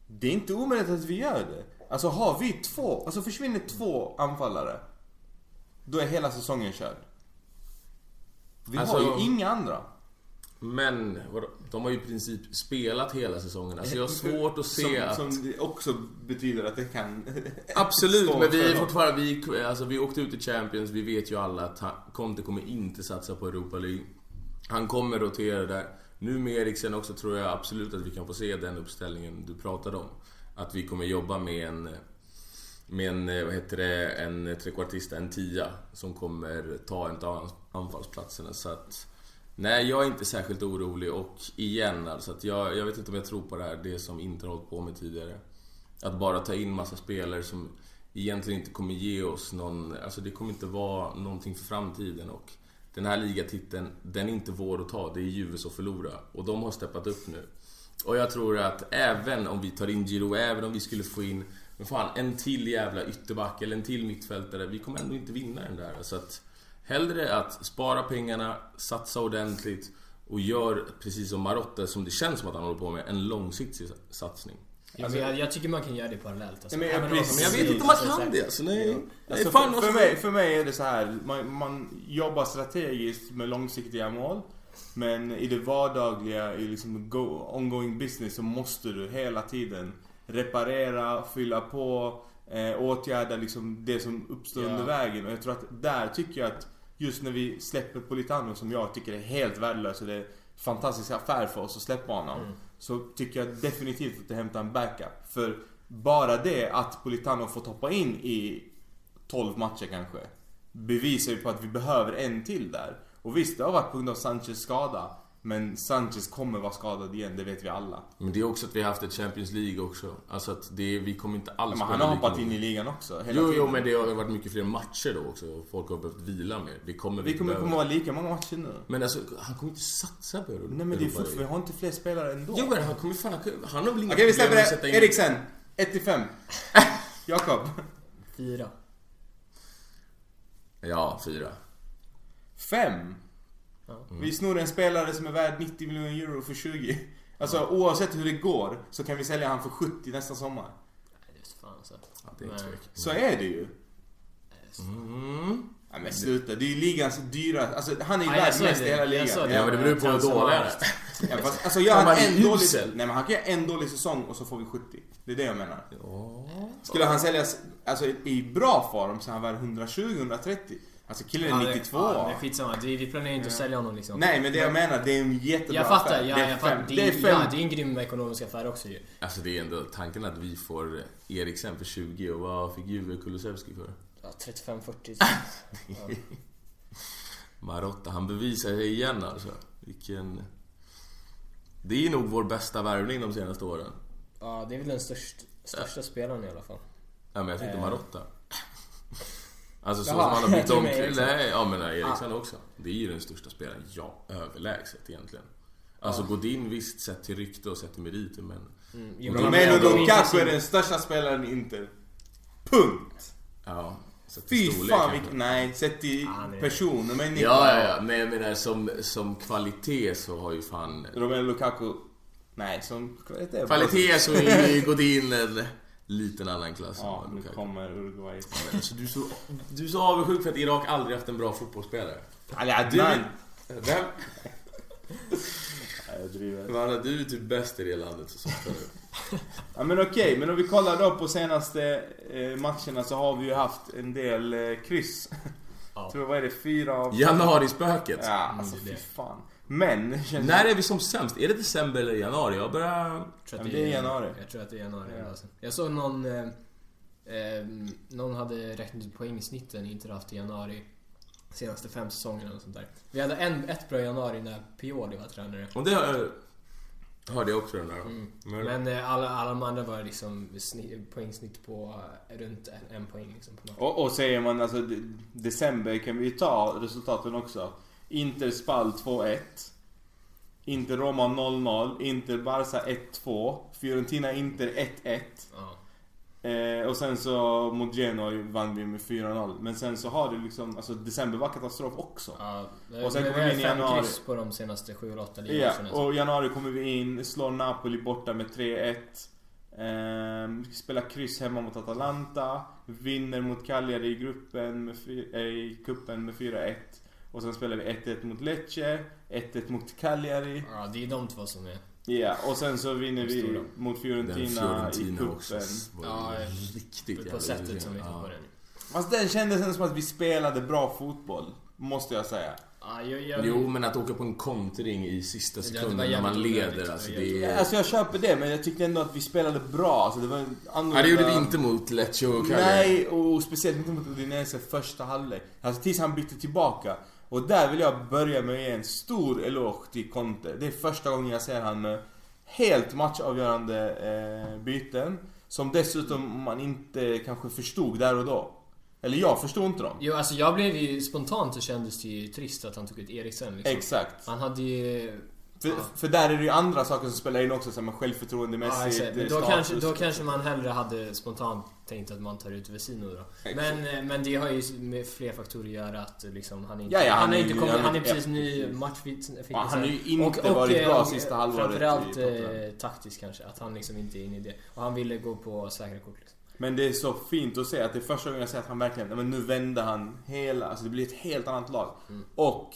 Det är inte omöjligt att vi gör det. Alltså har vi två, alltså försvinner två anfallare. Då är hela säsongen körd. Vi Alltså- har ju inga andra. Men vadå? de har ju i princip spelat hela säsongen. Alltså jag har svårt att se som, att... som det också betyder att det kan... Absolut, Stå men vi för är dem. fortfarande... Vi, alltså, vi åkte ut i Champions, vi vet ju alla att han- Conte kommer inte satsa på Europa League. Han kommer rotera där. Nu med Eriksen också tror jag absolut att vi kan få se den uppställningen du pratade om. Att vi kommer jobba med en... Med en, eh, vad heter det, en trekvartista, en tia som kommer ta en av anfallsplatserna. Så att, nej, jag är inte särskilt orolig och igen alltså att jag, jag vet inte om jag tror på det här, det som inte har hållit på med tidigare. Att bara ta in massa spelare som egentligen inte kommer ge oss någon... Alltså det kommer inte vara någonting för framtiden och den här ligatiteln, den är inte vår att ta. Det är Juves att förlora och de har steppat upp nu. Och jag tror att även om vi tar in Giro, även om vi skulle få in men fan, en till jävla ytterback eller en till mittfältare. Vi kommer ändå inte vinna den där. Så att hellre att spara pengarna, satsa ordentligt och gör precis som Marotta, som det känns som att han håller på med, en långsiktig satsning. ja, men jag, jag tycker man kan göra det parallellt. Alltså. Ja, men jag- Även om- precis. Men jag vet inte om man kan det alltså. Nej. Alltså, Nej, för, fan, för, alltså- mig, för mig är det så här, man, man jobbar strategiskt med långsiktiga mål. Men i det vardagliga, i liksom go, ongoing business så måste du hela tiden reparera, fylla på, eh, åtgärda liksom det som uppstår Ja. under vägen. Och jag tror att där tycker jag att just när vi släpper Politano som jag tycker är helt värdelös och det är en fantastisk affär för oss att släppa honom. Så tycker jag definitivt att det hämtar en backup. För bara det att Politano fått hoppa in i 12 matcher kanske. Bevisar ju på att vi behöver en till där. Och visst, det har varit på grund av Sanchez skada. Men Sanchez kommer vara skadad igen, det vet vi alla. Men det är också att vi har haft ett Champions League också. Alltså att det, vi kommer inte alls... Men han spela har hoppat lika in mycket. i ligan också. Hela Jo, jo, tiden. men det har ju varit mycket fler matcher då också. och Folk har behövt vila mer. Det kommer Vi kommer behöva. komma att vara lika många matcher nu. Men alltså, han kommer inte satsa på Europa. Nej men det är Europa fortfarande, vi League. har inte fler spelare ändå. Jo, men han kommer fan... han kan- Han har väl inga Okej vi problem släpper med att sätta det. in... Eriksen. 1 till 5. Jakob. Fyra. Ja, fyra. 5. Ja. Vi snor en spelare som är värd 90 miljoner euro för 20. Alltså oavsett hur det går så kan vi sälja han för 70 nästa sommar. Nej, det är så fan alltså. så. Ja, det är inte så Nej. mycket. Så är det ju. Mm. Ja, men sluta, det är ju ligans dyra... Alltså han är ju Nej, jag värd sa mest i det. hela Jag ligan. sa det. Ja, men det beror på hur Chansen dålig var han är. högst. Ja, fast, alltså gör Han han var en dålig... usel. Nej men han kan göra en dålig säsong och så får vi 70. Det är det jag menar. Ja. Skulle han säljas alltså, i bra form så är han värd 120-130. Alltså killen är 92. Ja, det- ja, men skitsamma, vi, vi planerar inte att Ja. sälja honom liksom. Nej men det jag menar, det är en jättebra Jag fattar, affär. ja, det jag fattar. Det Det är är, ja, det fem. är en grym ekonomisk affär också ju. Alltså det är ändå tanken att vi får Eriksen för 20 och vad fick Juve Kulusevski för? Ja, 35-40. Marotta, han bevisar sig igen alltså. Vilken... Det är nog vår bästa värvning de senaste åren. Ja, det är väl den störst, största spelaren i alla fall. Ja, men jag tänkte Eh. Marotta. Alltså så Jaha, som han har byggt jag om... tror med Eriksen. Nej, ja men nej, Eriksen Ah. också. Det är ju den största spelaren, ja, överlägset egentligen. Alltså Ah. Godin visst sett till rykte och sett till meriter men... Mm, Men men- Romelu men- Lukaku är den största spelaren i Inter. Punkt! Ja, sett till Fy storlek fan kanske. vilken... Nej, sett till Ah, nej. person och människa. Ja, ja, ja. Men jag menar som, som kvalitet så har ju fan... Romelu Lukaku... Nej, som kvalitet. Kvalitet så är ju Godin en liten annan klass. Ja, nu Lukaku. kommer Uruguay. Alltså, du, är så, du är så avundsjuk för att Irak aldrig haft en bra fotbollsspelare. Eller Adnan. Du- Vem? Nej, jag driver. Vanna, du är typ bäst i det landet så saknar du. Ja men okej, men om vi kollar då på senaste eh, matcherna så har vi ju haft en del eh, kryss. Ja. Tror jag, vad är det, fyra av... Januarispöket. Ja, alltså Mm, det är fy det. fan. Men, det känns När är vi som sämst? Är det december eller januari? Jag börjar... tror Ja, men det är januari. Jag tror att det är januari. Ja. Alltså. Jag såg någon... Eh, eh, någon hade räknat ut poängsnitten inte haft i januari. Senaste fem säsongerna och sånt där. Vi hade en, ett bra januari när Pioli var tränare. Och det har- hörde jag också den där. Mm. Men- Men eh, alla, alla de andra var liksom sni- poängsnitt på eh, runt en, en poäng liksom. På något. Och, och säger man alltså de- december kan vi ju ta resultaten också. Inter Spal 2-1. Inter Roma 0-0. Inter Barca 1-2. Fiorentina Inter 1-1. Ja. Eh, och sen så mot Genoa vann vi med 4-0. Men sen så har det liksom, alltså december var katastrof också. Ja, Och sen vi kommer vi in i har fem januari. kryss på de senaste sju eller åtta liksom. Ja, ligamatcherna. och i januari kommer vi in, slår Napoli borta med 3-1. Ehm, vi spelar kryss hemma mot Atalanta. Vinner mot Cagliari i gruppen med fy- eh, i kuppen med 4-1. Och sen spelar vi 1-1 mot Lecce, 1-1 mot Cagliari. Ja, det är de två som är... Ja, och sen så vinner vi Stora. mot Fiorentina, Den i Fiorentina kuppen. också var Ja, ju ja. riktigt På jävla sättet som irriterande. vi fick Ja. på den. Fast den kändes ändå som att vi spelade bra fotboll. Måste jag säga. Ja, jag, jag, Jo, men att åka på en kontring i sista Det var sekunden när jävligt man onödigt. leder, alltså Det var jävligt det är... Alltså jag köper det, men jag tyckte ändå att vi spelade bra. Alltså det var en annorlunda... Nej, det gjorde vi inte mot Lecce och Cagliari. Nej, och speciellt inte mot Udinese första halvlek. Alltså tills han bytte tillbaka. Och där vill jag börja med att ge en stor eloge till Conte. Det är första gången jag ser han med helt matchavgörande eh, byten. Som dessutom man inte kanske förstod där och då. Eller jag förstod inte dem. jo, alltså jag blev ju... Spontant så kändes det ju trist att han tog ut Eriksen liksom. Exakt. Han hade ju... För, Ja. för där är det ju andra saker som spelar in också, som självförtroendemässigt, eh, Ja, exakt. Men då, status. kanske, då kanske man hellre hade spontant tänkt att man tar ut Vesino då. Exakt. Men, eh, men det har ju med fler faktorer att göra att liksom, han inte... Ja, ja, han, han är är inte ju- kommit, ja, men- han är precis ja, ny precis. matchfit. eh, Ja, han har ju inte varit bra sista halvåret Framförallt i Tottenham. eh, taktiskt kanske, att han liksom inte är inne i det. Och han ville gå på säkra kort liksom. Men det är så fint att se att det är första gången jag ser att han verkligen, nej, men nu vände han hela, alltså det blir ett helt annat lag. Mm. Och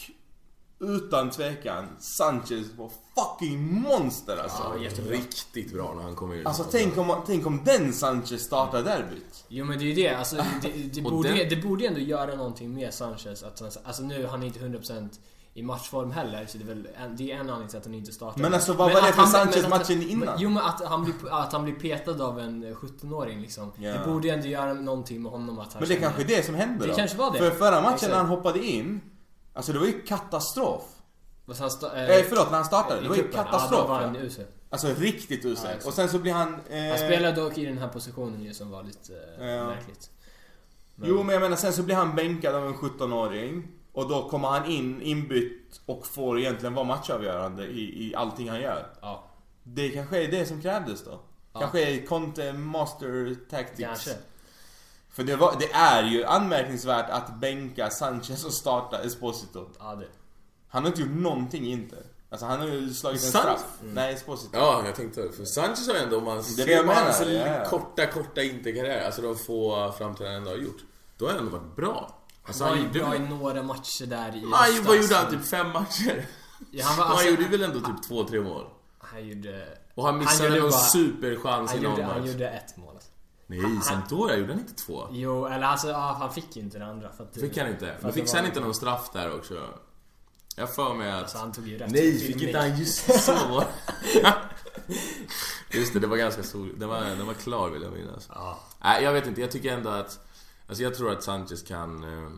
utan tvekan, Sanchez var fucking monster alltså. Ja, jättebra. Riktigt bra när han kom in. Alltså tänk om, tänk om den Sanchez startar derbyt. Jo men det är ju det, alltså, det, det, Och borde, den- det borde ändå göra någonting med Sanchez. Att han, alltså nu, han är inte 100% i matchform heller, så det är väl en, det är en anledning till att han inte startar. Men alltså, vad var det att för han- Sanchez men att- matchen innan? Men, jo men att han, blir, att han blir petad av en eh, 17-åring liksom. Ja. Det borde ändå göra någonting med honom att han Men det är känner- kanske är det som hände Det då. kanske var det. För förra matchen Exakt. när han hoppade in, alltså det var ju katastrof. Fast han sta- eh, Nej förlåt, när han startade. i Det var ju kuppen. Ja, katastrof. då var han va? usel. Alltså riktigt Ja, usel. exakt. Och sen så blir han... eh, Han spelade dock i den här positionen ju som var lite eh, Ja. märkligt. Jo men jag menar sen så blir han bänkad av en 17-åring. Och då kommer han in inbytt och får egentligen vara matchavgörande i, i allting han gör. Ja, Det kanske är det som krävdes då. Ja. Kanske är Conte Master Tactics. kanske. För det, var, det är ju anmärkningsvärt att bänka Sanchez och starta Esposito. Ja, det. Han har inte gjort någonting inte. Alltså han har ju slagit en Sant? straff. Mm. Nej, Esposito. Ja, jag tänkte För Sanchez har ändå, om man det ser jag på menar, hans ja, ja. korta, korta interkarriär, alltså de få framträdanden han har gjort. Då har han ändå varit bra. Alltså Han var han ju gjorde bra i väl... några matcher där i Aj, höstas. vad gjorde han? Typ fem matcher? Ja, han, var, Och alltså, han gjorde väl ändå typ två, tre mål? han gjorde... Och han missade Han gjorde någon bara- superchans i Han någon gjorde, han match. gjorde ett mål. alltså. Nej, Sampdoria gjorde han inte två. Jo, eller alltså ja, han fick ju inte det andra. För att, Det fick han inte. för Men att det fick var- sen inte någon straff där också. Jag har för mig att... Alltså han tog ju rätt. Nej, till fick nick. inte han just så var det. Just det, det var ganska sol. Den var, den var klar vill jag minnas. Ja. Nej, jag vet inte. Jag tycker ändå att... Alltså jag tror att Sanchez kan... eh,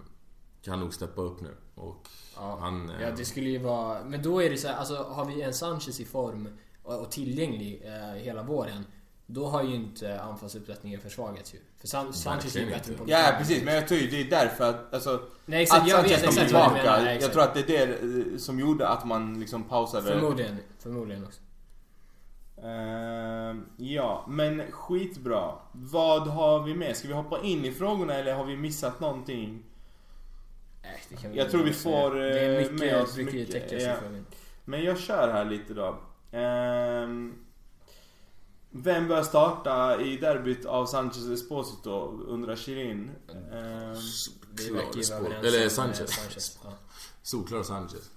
Kan nog steppa upp nu. Och Ja. han... eh, Ja, det skulle ju vara... Men då är det så här, alltså har vi en Sanchez i form och, och tillgänglig eh, hela våren. Då har ju inte anfallsuppsättningen försvagats ju. För San, Sanchez är ju Verkligen bättre inte. på Ja, precis. Men jag tror ju det är därför att... Alltså, Nej, exakt, att jag vet Sanchez kom exakt vad du menar. tillbaka. Nej, Jag exakt. tror att det är det eh, som gjorde att man liksom pausade. Förmodligen. Förmodligen också. Ehm, ja, men skitbra. Vad har vi med? Ska vi hoppa in i frågorna eller har vi missat någonting? Nej, det kan Jag tror vi inte säga. får, Det är eh, mycket, med oss mycket, mycket, tecken ja. som följer. Men jag kör här lite då. Ehm, vem bör starta i derbyt av Sanchez Esposito? Undrar Shirin. Ehm, Vi Klar, verkar ju Spor- vara överens Eller om, eh, Sanchez. Ja. Solklar Sanchez.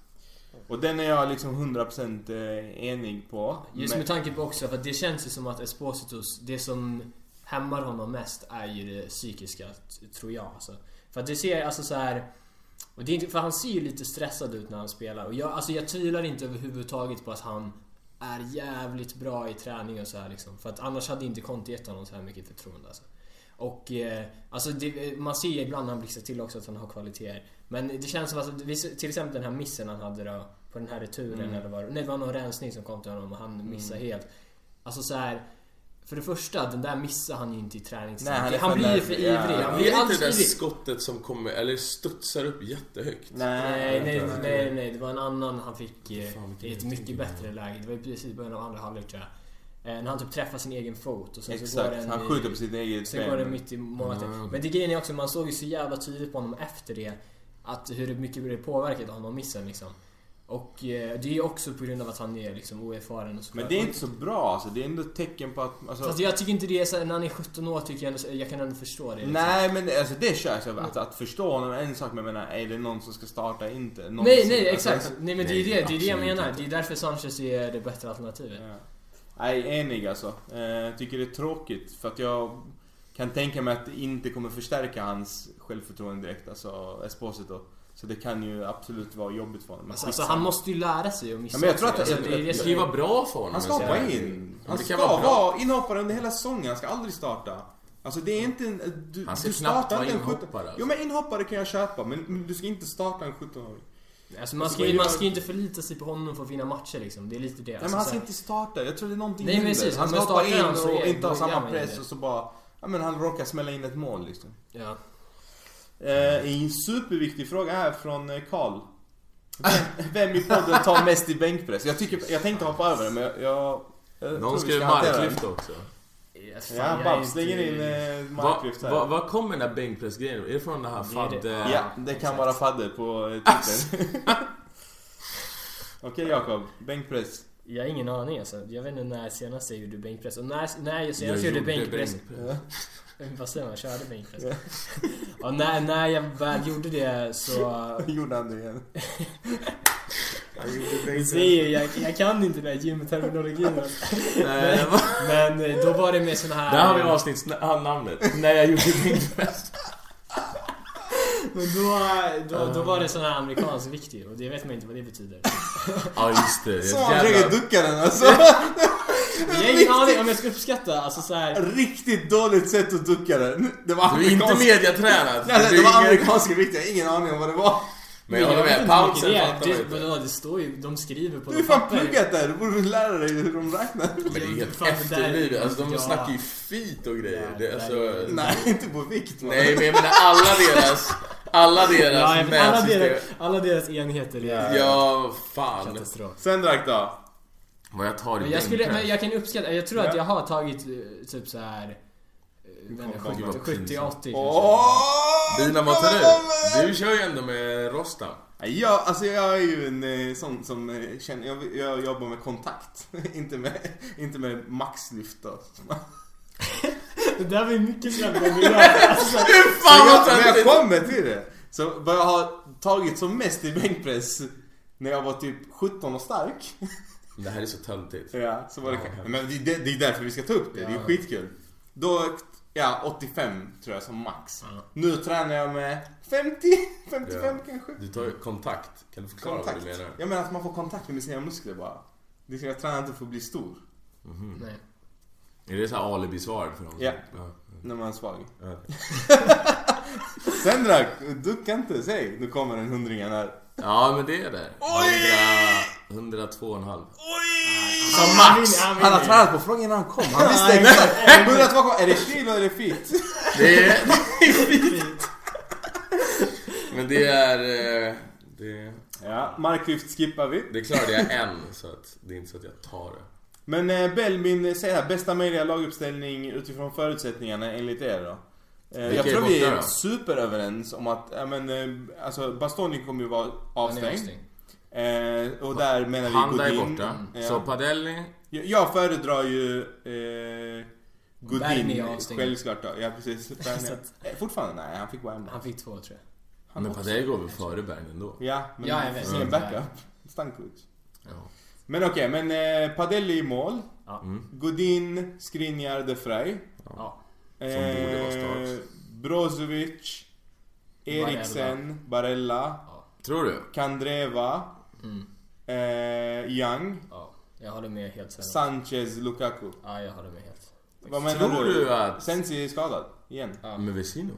och den är jag liksom 100% enig på. Just Men- med tanke på också, för att det känns ju som att Espositos, det som hämmar honom mest är ju det psykiska, t- tror jag. Alltså. För att det ser alltså så här. Och det är inte, för han ser ju lite stressad ut när han spelar. Och jag, alltså jag tvivlar inte överhuvudtaget på att han är jävligt bra i träning och så här liksom. För att annars hade inte Conte gett honom så här mycket förtroende alltså. Och eh, alltså det, man ser ju ibland när han blixtrar till också att han har kvaliteter. Men det känns som att, vi- till exempel den här missen han hade då på den här returen Mm. eller vad Nej det var någon rensning som kom till honom och han missade helt. Alltså så här. För det första, den där missar han ju inte i Nej, träningsträning. han är Han, han för blir ju nervig, för ja. ivrig. Han Är blir det alldeles inte det där ivrig. skottet som kommer, eller studsar upp jättehögt? Nej, Nej, nej, nej, nej. Det var en annan han fick eh, Fan, vilken i ett mycket bättre läge. Det var ju precis i början av andra halvlek tror jag. Eh, När han typ träffar sin egen fot och sen så går Exakt, den han i- skjuter på sitt eget Sen går det ben. mitt i målet. Mm. Men det grejen är också, man såg ju så jävla tydligt på honom efter det. Att hur mycket det påverkat honom missen liksom. Och eh, det är ju också på grund av att han är liksom oerfaren och så Men det är inte så bra alltså. Det är ändå ett tecken på att... Alltså, Fast jag tycker inte det är så, här, när han är 17 år tycker jag ändå, jag kan ändå förstå det. liksom. Nej men det- alltså det körs jag. Att, att förstå honom är en sak men jag menar, är det någon som ska starta inte? Någon Nej, som- nej, alltså, exakt. Nej men det är ju Nej, det, det är det jag absolut menar. inte. Det är därför Sanchez är det bättre alternativet. Ja. Nej, enig alltså. Eh, tycker det är tråkigt för att jag kan tänka mig att det inte kommer förstärka hans självförtroende direkt, alltså Esposito. Så det kan ju absolut vara jobbigt för honom. Men Alltså, alltså skitsamma. han måste ju lära sig att missa. Ja, men jag tror att- alltså, det är det Det som ska ju vara bra för honom. han ska men så hoppa här- in. Ja, Han det ska kan vara bra. vara inhoppare under hela säsongen. Han ska aldrig starta. Alltså det är inte en... Du, Han ska du knappt startar vara inte en sjutton- inhoppare, alltså. Jo men inhoppare kan jag köpa men, men du ska inte starta en 17-åring. Alltså man Alltså, ska vad ju gör- man ska ju inte förlita sig på honom för att vinna matcher liksom. Det är lite det. Nej Alltså, men han så ska här- inte starta. Jag tror det är någonting Nej, men händer. precis. Han Men ska hoppa startar in han så och är- inte ha då samma gör man ju press det. och så bara... Ja men han råkar smälla in ett mål liksom. Ja. Eh, en superviktig fråga här från eh, Karl. Vem, vem i podden tar mest i bänkpress? Jag, tycker, jag tänkte hoppa över det men jag... jag, jag tror Någon vi ska ju hantera den. marklyfta också. Ja, fan, Ja, jag är Babs inte- lägger in eh, Vad marklyft här. va, va kommer den här bänkpressgrejen Är det från den här Det är det. fadde... ja, det kan exakt. vara fadder på eh, Twitter. Okej Jakob, bänkpress. Jag har ingen aning alltså. Jag vet inte när senast jag gjorde bänkpress. Och när, när jag Jag senast gjorde bänkpress... bänkpress. Vad säger man? Körde bänkpress? ja, när, när jag väl gjorde det så... Gjorde han det igen? Du ser ju, jag, jag kan inte den här gymterminologin. men- Nej, det var- Men eh, då var det med såna här... Där har vi avsnittsnamnet. När jag gjorde bänkpress. Men då, då, då var det sån här amerikansk vikt ju, och det vet man inte vad det betyder. Ja, just det. Så Ett han försöker jävla... ducka den alltså. Jag har ingen aning om jag ska uppskatta, alltså så här. Riktigt dåligt sätt att ducka den. Det var Du är inte amerikansk- mediatränad. Nej, nej, Du det är var ingen- amerikanska viktiga, ingen aning om vad det var. Men jag håller med, Poundsen fattar fattar man det, inte. vadå, det står ju, de skriver på Du har ju de fan papper. pluggat där, du borde väl lära dig hur de räknar? Men det är ju helt Fan, det där- efterblivet. Alltså de ja. snackar ju fit och grejer. Nej, Det, är alltså, Nej, inte på vikt va? nej, men jag menar alla deras... Alla Ja, jag deras vet, alla, mätsystem. deras, alla deras enheter är Ja, fan. katastrof. Sendrak då? Vad jag tar i Men jag, skulle, bänken. men jag kan uppskatta, jag tror att Ja. jag har tagit eh, typ så här eh, men kommer ihåg, det var 70-80 kanske. Åh! Dina Matarell, du kör ju ändå med Rostam. Ja, alltså jag är ju en eh, sån som eh, känner, jag, jag jobbar med kontakt. inte, med, inte med maxlyft då. Det där var ju mycket snabbare än vi gör. alltså, Men jag, vad men jag töntigt! kommer till det! Så vad jag har tagit som mest i bänkpress när jag var typ 17 och stark. Det här är så töntigt. Ja, så var det Ja. kanske. Men det, det det är därför vi ska ta upp det, det är Ja. skitkul. Då, ja 85 tror jag som max. Ja. Nu tränar jag med 50, 55 kanske. Du tar ju kontakt. Kan du förklara Kontakt. vad du menar? Jag menar att man får kontakt med sina muskler bara. Det ska jag träna inte för att bli stor Mm. Nej. Är det så här alibi-svar för dem? Ja. ja. när man är svag. ja. Sendrak, ducka inte, säg. Nu kommer en hundringen här. Ja, men det är det. 100, 102,5. Som max. Han har tränat på frågan innan han kom. Han visste exakt. 102 kom. Är det kilo eller fit? Det är... men det är... eh, Det, Ja, marklyft skippar vi. det klarade jag en, så att det är inte så att jag tar det. Men eh, Belmin säger här, bästa möjliga laguppställning utifrån förutsättningarna enligt er då? Eh, Vilka jag är tror vi borta är då? superöverens om att, ja men eh, alltså Bastoni kommer ju vara Han är avstängd. avstängd. Eh, och där menar vi Handa är Godin. borta. Ja. Så Padelli... Jag, jag föredrar ju eh, Berni är Godin avstängd. självklart då. Ja precis. Berni- Så att- Eh, Fortfarande? Nej, han fick vara hemma. Han fick två tror jag. Han Men också. Padelli går väl före Berg ändå? Ja, men Ja, jag vi vet. får se en Mm. backup. Stankovic. Ja. Men okej, men eh, Padelli i mål. Ja. Mm. Godin, Skriniar, De Frey. Ja. borde vara start. Brozovic. Eriksen, Barella, Tror du? Kandreva, Mm. eh, Young, ja. Jag håller med helt sen. Sanchez, Lukaku. Ja, jag håller med helt. Vad menar Tror du? du att... Sensi är skadad igen. Ja. Med Vesino?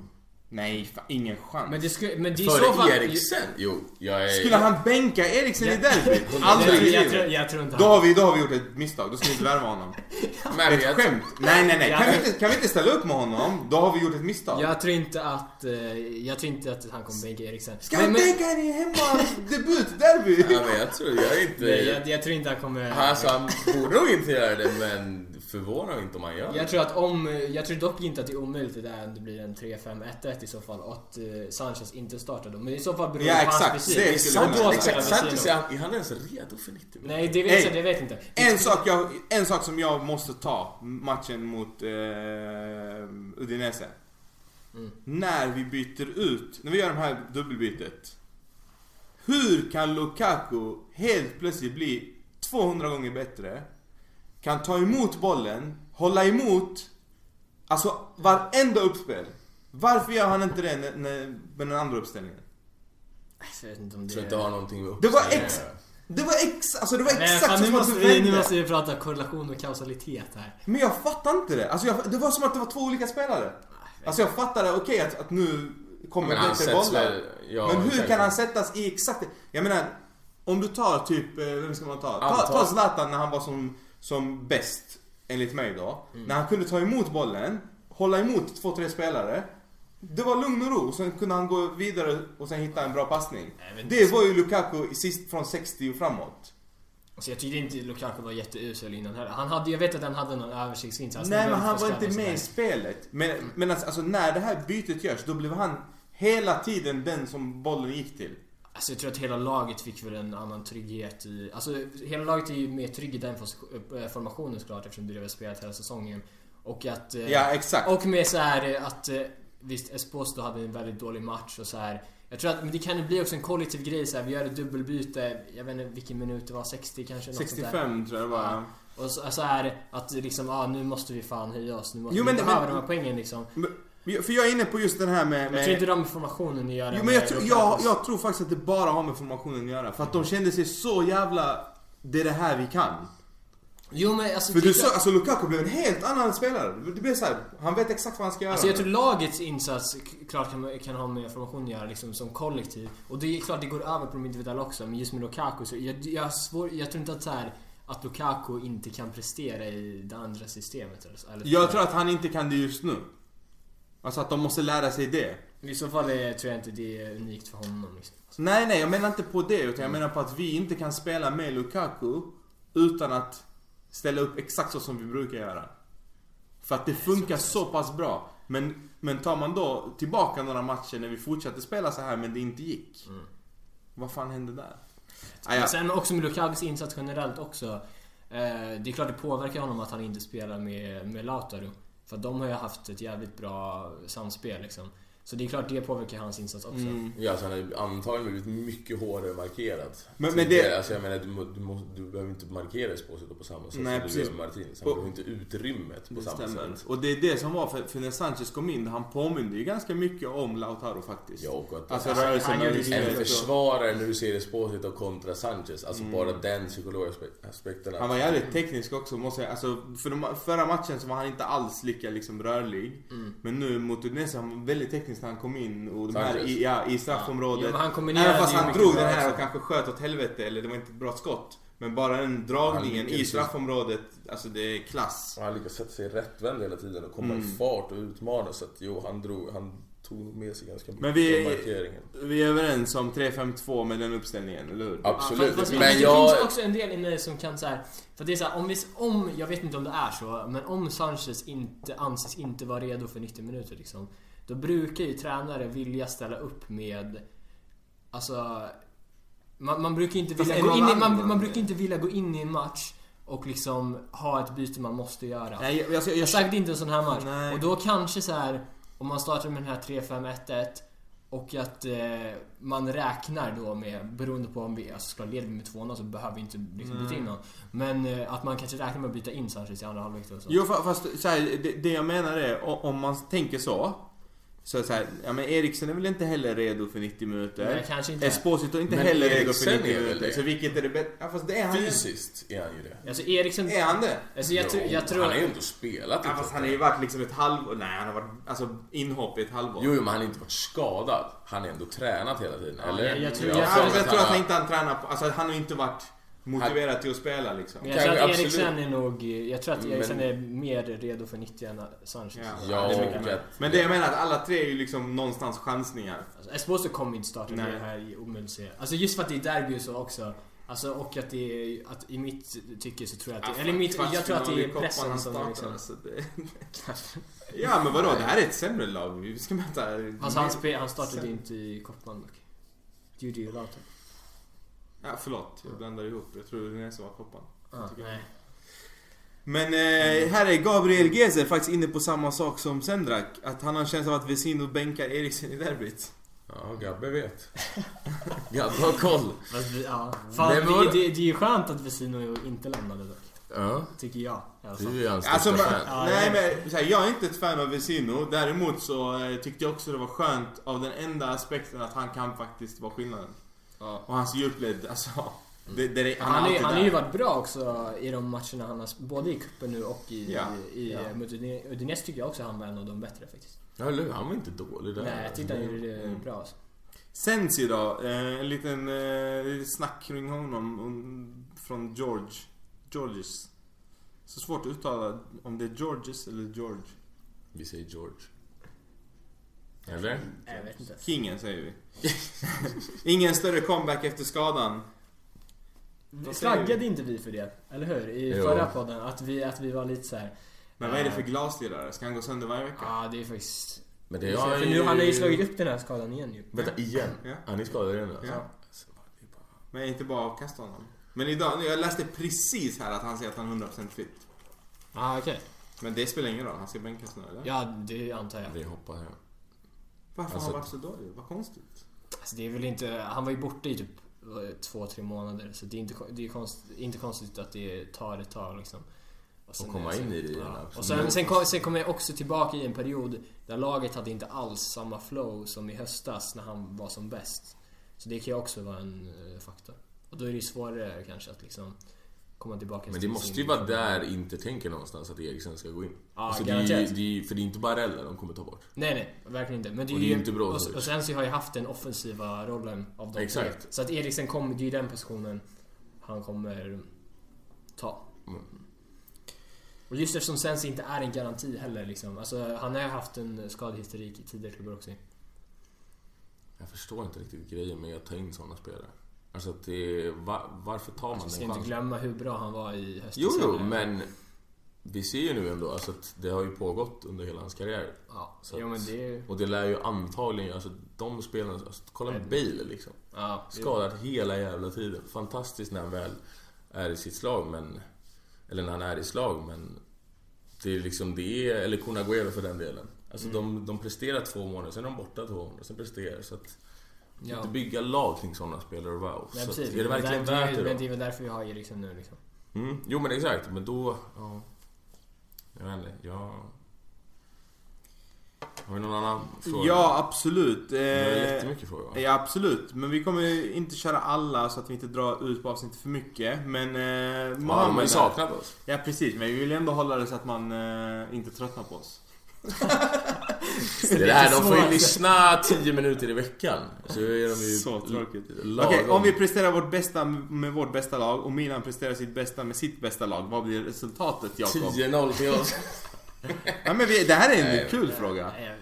Nej, fan, ingen chans. Men det, skulle, men det är i så fall... Före Eriksen? Jo, jag är... Skulle han bänka Eriksen i derbyt? Jag, Aldrig jag, i jag, tror, livet. jag tror inte Då han... har, vi, då har vi gjort ett misstag, då ska vi inte värva honom. Men Ett jag- skämt! Nej, nej, nej. Ja. Kan vi, inte, kan vi inte ställa upp med honom? Då har vi gjort ett misstag. Jag tror inte att... eh, Jag tror inte att han kommer bänka Eriksen. Ska han bänka henne i hemma debut derby? Ja, men jag tror jag är inte... Nej, jag, jag tror inte han kommer... Alltså han borde nog inte göra det men förvåna mig inte om han gör det. Jag tror att om, jag tror dock inte att det är omöjligt det där om det blir en 3-5-1-1 i så fall och att eh, Sanchez inte startar då. Men i så fall beror det Ja, på exakt. hans Det är beslut. sant. Och då Exakt. spelar Vesino. Sanchez, är han, är han ens redo för 90 minuter? Nej, det vet jag, Ey. det vet jag inte. En sak, jag, en sak som jag måste ta matchen mot eh, Udinese. Mm. När vi byter ut, när vi gör det här dubbelbytet. Hur kan Lukaku helt plötsligt bli 200 gånger bättre? Kan ta emot bollen, hålla emot. Alltså varenda uppspel. Varför gör han inte det när, när, med den andra uppställningen? Jag vet inte om Jag det... tror inte det har någonting med Det var uppställningen ex- att göra. Det var ex, alltså det var Eh. Nej, exakt fan, nu, som man måste vi, nu förväntade. måste vi prata korrelation och kausalitet här. Men jag fattar inte det. Alltså jag, det var som att det var två olika spelare. Alltså jag fattade, okej att, att nu kommer Men han bättre sätts bollar. väl... Ja, men hur exakt. kan han sättas i exakt Jag menar, om du tar typ, eh, vem ska man ta? Ta, Antal. ta Zlatan när han var som, som bäst, enligt mig då. Mm. När han kunde ta emot bollen, hålla emot två, tre spelare. Det var lugn och ro, sen kunde han gå vidare och sen hitta en bra passning. Nej, men- Det var ju Lukaku i sist från 60 och framåt. Alltså, jag tyckte inte Lukaku var jätteusel innan heller. Han hade, jag vet att han hade någon översiktsinsats. Nej Den men var han var förskräcklig inte och med i sådär. spelet. Men, men alltså, alltså när det här bytet görs då blev han hela tiden den som bollen gick till. Alltså jag tror att hela laget fick väl en annan trygghet i... Alltså hela laget är ju mer trygg i den fos- eh, formationen såklart eftersom det har spelat hela säsongen. Och att... eh, Ja exakt. Och med så här eh, att eh, visst Esposito hade en väldigt dålig match och så här. Jag tror att men det kan ju bli också en kollektiv grej så här. Vi gör ett dubbelbyte. Jag vet inte vilken minut det var. 60 kanske? något sånt där. 65 tror jag det var. Och så, så här att liksom ah, nu måste vi fan höja oss. Nu måste Jo, vi men- behöva men- de här poängen liksom. Men- För jag är inne på just den här med... Jag tror inte med de informationen gör jo det men jag, med tror- Lukaku. jag, jag tror faktiskt att det Alltså, bara har med formationen att göra. För att de kände sig så jävla... Det är det här vi kan. Jo men alltså... För du Tyskland- så, alltså Lukaku blev en helt annan spelare. Det blir såhär, han vet exakt vad han ska göra. Alltså jag tror lagets insats k- klart kan, man- kan ha med formation att göra liksom, som kollektiv. Och det är klart det går över på de individuella också. Men just med Lukaku så jag, jag, har svår, jag tror inte att, så här, att Lukaku inte kan prestera i det andra systemet. eller så- Eller, Jag tror att han inte kan det just nu. Alltså att de måste lära sig det. I så fall är, tror jag inte det är unikt för honom. Liksom. Nej, nej, jag menar inte på det. Utan jag Mm. menar på att vi inte kan spela med Lukaku utan att ställa upp exakt så som vi brukar göra. För att det funkar så pass bra. Men, men tar man då tillbaka några matcher när vi fortsatte spela så här men det inte gick. Mm. Vad fan hände där? Ah, ja. Men sen också med Lukakus insats generellt också. Eh, det är klart det påverkar honom att han inte spelar med, med Lautaro. För att de har ju haft ett jävligt bra samspel liksom. Så det är klart det påverkar hans insats också. Mm. Ja, alltså han har ju antagligen blivit mycket hårdare markerad. Men- men tidigare. det- Alltså jag menar, du, må- du, må- du behöver inte markera Esposito på samma sätt Nej, som du precis. gör med Martinez. Han Och- behöver inte utrymmet på Det samma stämmer. sätt. Och det är det som var för, för när Sanchez kom in, han påminde ju ganska mycket om Lautaro faktiskt. Ja, och att Alltså Han- han rörelserna gör det i ju en huvudet och- försvarare när du ser Esposito kontra Sanchez. Alltså bara den psykologiska aspe- aspekten. Mm. att- Han var jävligt teknisk också måste jag alltså, för de, Förra matchen så var han inte alls lika liksom, rörlig. Mm. Men nu mot Udinese han var väldigt teknisk när han kom in och de här, Sanchez. i, ja, i Ja, straffområdet. men han kombinerade Även fast ju han mycket drog bra den här och också. kanske sköt åt helvete eller det var inte ett bra skott. Men bara den dragningen Han i lyckades. straffområdet, alltså det är klass. Och han lyckas sätta sig rättvänd hela tiden och komma Mm. i fart och utmana. Så att jo, han, drog, han tog med sig ganska mycket Men vi- av markeringen. Vi är överens om 3-5-2 med den uppställningen, eller hur? Absolut. fast, fast, men men det jag... finns också en del i mig som kan så här, För det är så här, om, vi, om, jag vet inte om det är så, men om Sanchez inte anses inte vara redo för 90 minuter liksom. Då brukar ju tränare vilja ställa upp med, alltså. Man, man brukar ju inte Fast vilja en gå in i, annan- man, man brukar inte vilja gå in i en match och liksom ha ett byte man måste göra. Nej, jag, jag, jag, Jag sagt inte en sån här match. Nej. Och då kanske så här om man startar med den här 3-5-1-1 och att eh, man räknar då med, beroende på om vi alltså, ska leda med 2-0 så behöver vi inte liksom, byta in någon. Men eh, att man kanske räknar med att byta in Sanchez i andra halvlek och så. Jo fa- fast så här, det, det jag menar är o- om man tänker så. Så, är det så här, ja men Eriksen är väl inte heller redo för 90 minuter. Nej, kanske inte. Esposito är inte Men heller redo Eriksen för 90 är väl minuter. det? Så vilket är det bättre? Ja fast det är han ju. Fysiskt är han ju det. Alltså Eriksen... Är han det? Alltså jag, tror- Jo, jag tror... Han har ju inte spelat i Ja fast han har Tottenham. ju varit liksom ett halvår. Nej han har varit alltså inhopp i ett halvår. Jo, jo, men han har inte varit skadad. Han har ändå tränat hela tiden, eller? jag- jag tror- ja, har jag- för mig fast jag tror att han har- inte han tränar på. Alltså han har ju inte varit motiverad till att spela liksom. Men jag tror att Kanske, Eriksen är nog... Jag tror att Men- Eriksen är mer redo för 90 än Sanchez. Ja. Ja, Det är och mycket att... Men det jag menar att alla tre är ju liksom någonstans chansningar. Alltså, Esposito kommer inte starta med Nej. det här i omöjligt se. Alltså just för att det är derby och så också. Alltså och att det är, att i mitt tycke så tror jag att det, eller i mitt, jag tror att det Kvartsfinal i är Copan pressen han som startar, liksom... alltså, det... Ja men vadå, det här är ett sämre lag. Vi ska möta... Alltså han, spe, han startade ju Sen- inte i Koppman dock. Det gjorde ju Lautaro. Ja, förlåt, jag blandar ihop. Jag tror det är som var koppan. Ah, nej. Men eh, här är Gabriel Gezer faktiskt inne på samma sak som Sendrak. Att han har en känsla av att Vesino bänkar Eriksen i derbyt. Ja, Gabbe vet. Gabbe har koll. Fast, vi- ja. Fan, Nej, men det, vadå? det, det är ju skönt att Vesino inte lämnade dock. Ja, Tycker jag i alla fall. du är hans Alltså, största man, fan. Ja, nej jag men så här, jag är inte ett fan av Vesino. Däremot så eh, tyckte jag också det var skönt av den enda aspekten att han kan faktiskt vara skillnaden. Ja. Och hans djupled, alltså. Det, det, det, Han, han, är, alltid han har där. ju varit bra också i de matcherna han har sp- både i cupen nu och i, Ja. i, i Ja. mot Udine- Udinese tycker jag också han var en av de bättre faktiskt. Ja, eller hur? han var inte dålig där. Nej, jag tyckte han gjorde det Mm. bra alltså. Sensi då, eh, en liten eh, lite snack kring honom um, från George. Georges. Så svårt att uttala om det är Georges eller George. Vi säger George. Eller? Nej, jag vet inte. Kingen säger vi. Ingen större comeback efter skadan. Vi Vad säger Flaggade inte vi för det? Eller hur? I Jo. förra podden. Att vi, att vi var lite så här. Men vad är det för glaslirare? Ska han gå sönder varje vecka? Ja, det är faktiskt... Men det Det är har för ju- nu, han har ju slagit upp den här skadan igen ju. Vänta, igen? Ja. Han är skadad igen alltså. Ja. Alltså, det är bara- Men inte bara avkasta honom. Men idag, jag läste precis här att han säger att han är 100% fit. Ah, okej. Men det spelar ingen roll, han ska bänkas nu eller? Ja, det antar jag. Vi hoppar här. Varför har Alltså- han varit så dålig? Vad konstigt. Alltså, det är väl inte... Han var ju borta i typ vad är det, två, tre månader. Så det är inte, kon- det är konst, inte konstigt att det tar ett tag liksom. sen Och komma är det så- in i det igen, Ja. absolut. Och sen, sen, kom, sen kom jag också tillbaka i en period där laget hade inte alls samma flow som i höstas när han var som bäst. Så det kan ju också vara en eh, faktor. Och då är det ju svårare kanske att liksom komma tillbaka Men det till måste sin- ju vara där inte tänker någonstans att Eriksen ska gå in. Ja, alltså, det är, ju- garanterat. det är, ju- för det är inte Barella de kommer ta bort. Nej, nej, verkligen inte. Men det är Och ju, det är inte bra och, så. och Sensi har ju haft den offensiva rollen av de Exakt. tre. Så att Eriksen kommer, det är ju den positionen han kommer ta. Mm. Och just eftersom Sensi inte är en garanti heller liksom. Alltså, han har ju haft en skadehistorik i tidigare klubbar också. Jag förstår inte riktigt grejen med att ta in sådana spelare. Alltså att det, va, varför tar man Vi ska den Alltså, inte chansen? glömma hur bra han var i höstas. Jo, jo, men vi ser ju nu ändå alltså att det har ju pågått under hela hans karriär. Ja, Så jo, att- men det är ju... Och det lär ju antagligen, alltså de spelarna, alltså, kolla Nej. Bale liksom. Ja, jo. Skadad hela jävla tiden. Fantastiskt när han väl är i sitt slag men... Eller när han är i slag men... Det är liksom det, är- eller Kunaguero för den delen. Alltså Mm. de, de presterar två månader, sen är de borta två månader, sen presterar så att... Ja. Inte bygga lag kring sådana spelare, wow. Nej, så att, precis. är det verkligen men, värt det, men det det är väl därför vi har Eriksen nu liksom. då? Mm. Jo men exakt, men då... Ja. Jag vet inte, jag... Har vi någon annan fråga? Ja, absolut. Eh, Det var jättemycket frågor va? Ja, absolut. Men vi kommer ju inte köra alla så att vi inte drar ut på avsnittet för mycket. Men... Eh, Ja, de har ju Mohammed- saknat oss. Ja, precis. Men vi vill ändå hålla det så att man eh, inte tröttnar på oss. Det är det här, lite de får ju svårt. lyssna 10 minuter i veckan. Så är de ju Så tråkigt. lagom. Okej, om vi presterar vårt bästa med vårt bästa lag och Milan presterar sitt bästa med sitt bästa lag, vad blir resultatet Jakob? 10-0 till oss. Ja, men vi, det här är en Nej. kul fråga. Eh, eh,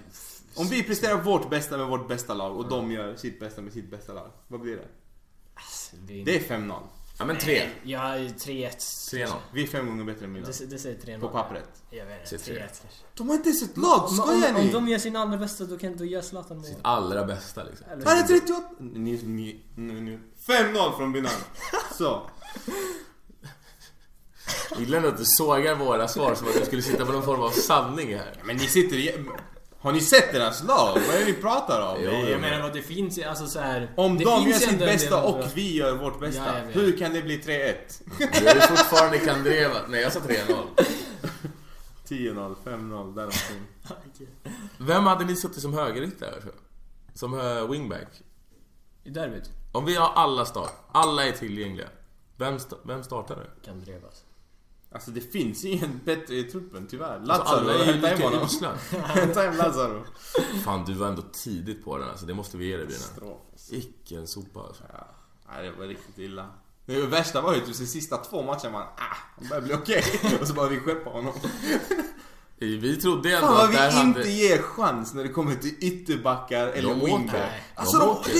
Om vi presterar vårt bästa med vårt bästa lag och de gör sitt bästa med sitt bästa lag, vad blir det? det är... Det är 5-0. Ja men 3. Ja, 3-1. 3-0. Vi är fem gånger bättre än Milan. Det, det säger 3-0. På pappret. Jag vet Säg inte. tre. 3-1 kanske. De har inte ens ett lag, Om, om, skojar om ni? de gör sin allra bästa då kan du göra Zlatan mål. Sitt allra bästa liksom. Eller- Han är 38! Ni, ni, ni, ni. 5-0 från Milan. Så. Jag Gillar ändå att du sågar våra svar som att du skulle sitta på någon form av sanning här. Men ni sitter i... Har ni sett deras lag? Vad är det ni pratar om? Jo, Nej, jo, jag menar vad det finns ju, alltså så här, Om det de finns gör ju sitt ändå en del bästa andra- och vi gör vårt bästa, Ja, jag vet. hur kan det bli 3-1? Du är fortfarande Kandreva. Nej jag sa 3-0. 10-0, 5-0, där omkring. Okej. Vem hade ni suttit som högerytter? Som eh, wingback? I derbyt Om vi har alla start, alla är tillgängliga. Vem, sta- vem startar nu? kan drevas. Alltså det finns ingen bättre i truppen tyvärr. Alltså, Lazaro, alla är ju hämta hem lika honom. usla. Hämta hem Lazaro. Fan du var ändå tidigt på den alltså, det måste vi ge dig Brynäs. Stråk. Vilken sopa alltså. Ja, nej, det var riktigt illa. Det värsta var ju typ de sista två matcherna man, ah, han börjar bli okej. Och så bara vi skeppa honom. Vi trodde ändå Fan vad att vi där inte hade... ger chans när det kommer till ytterbackar eller åker. wingback. Nej. Alltså De de, åker. det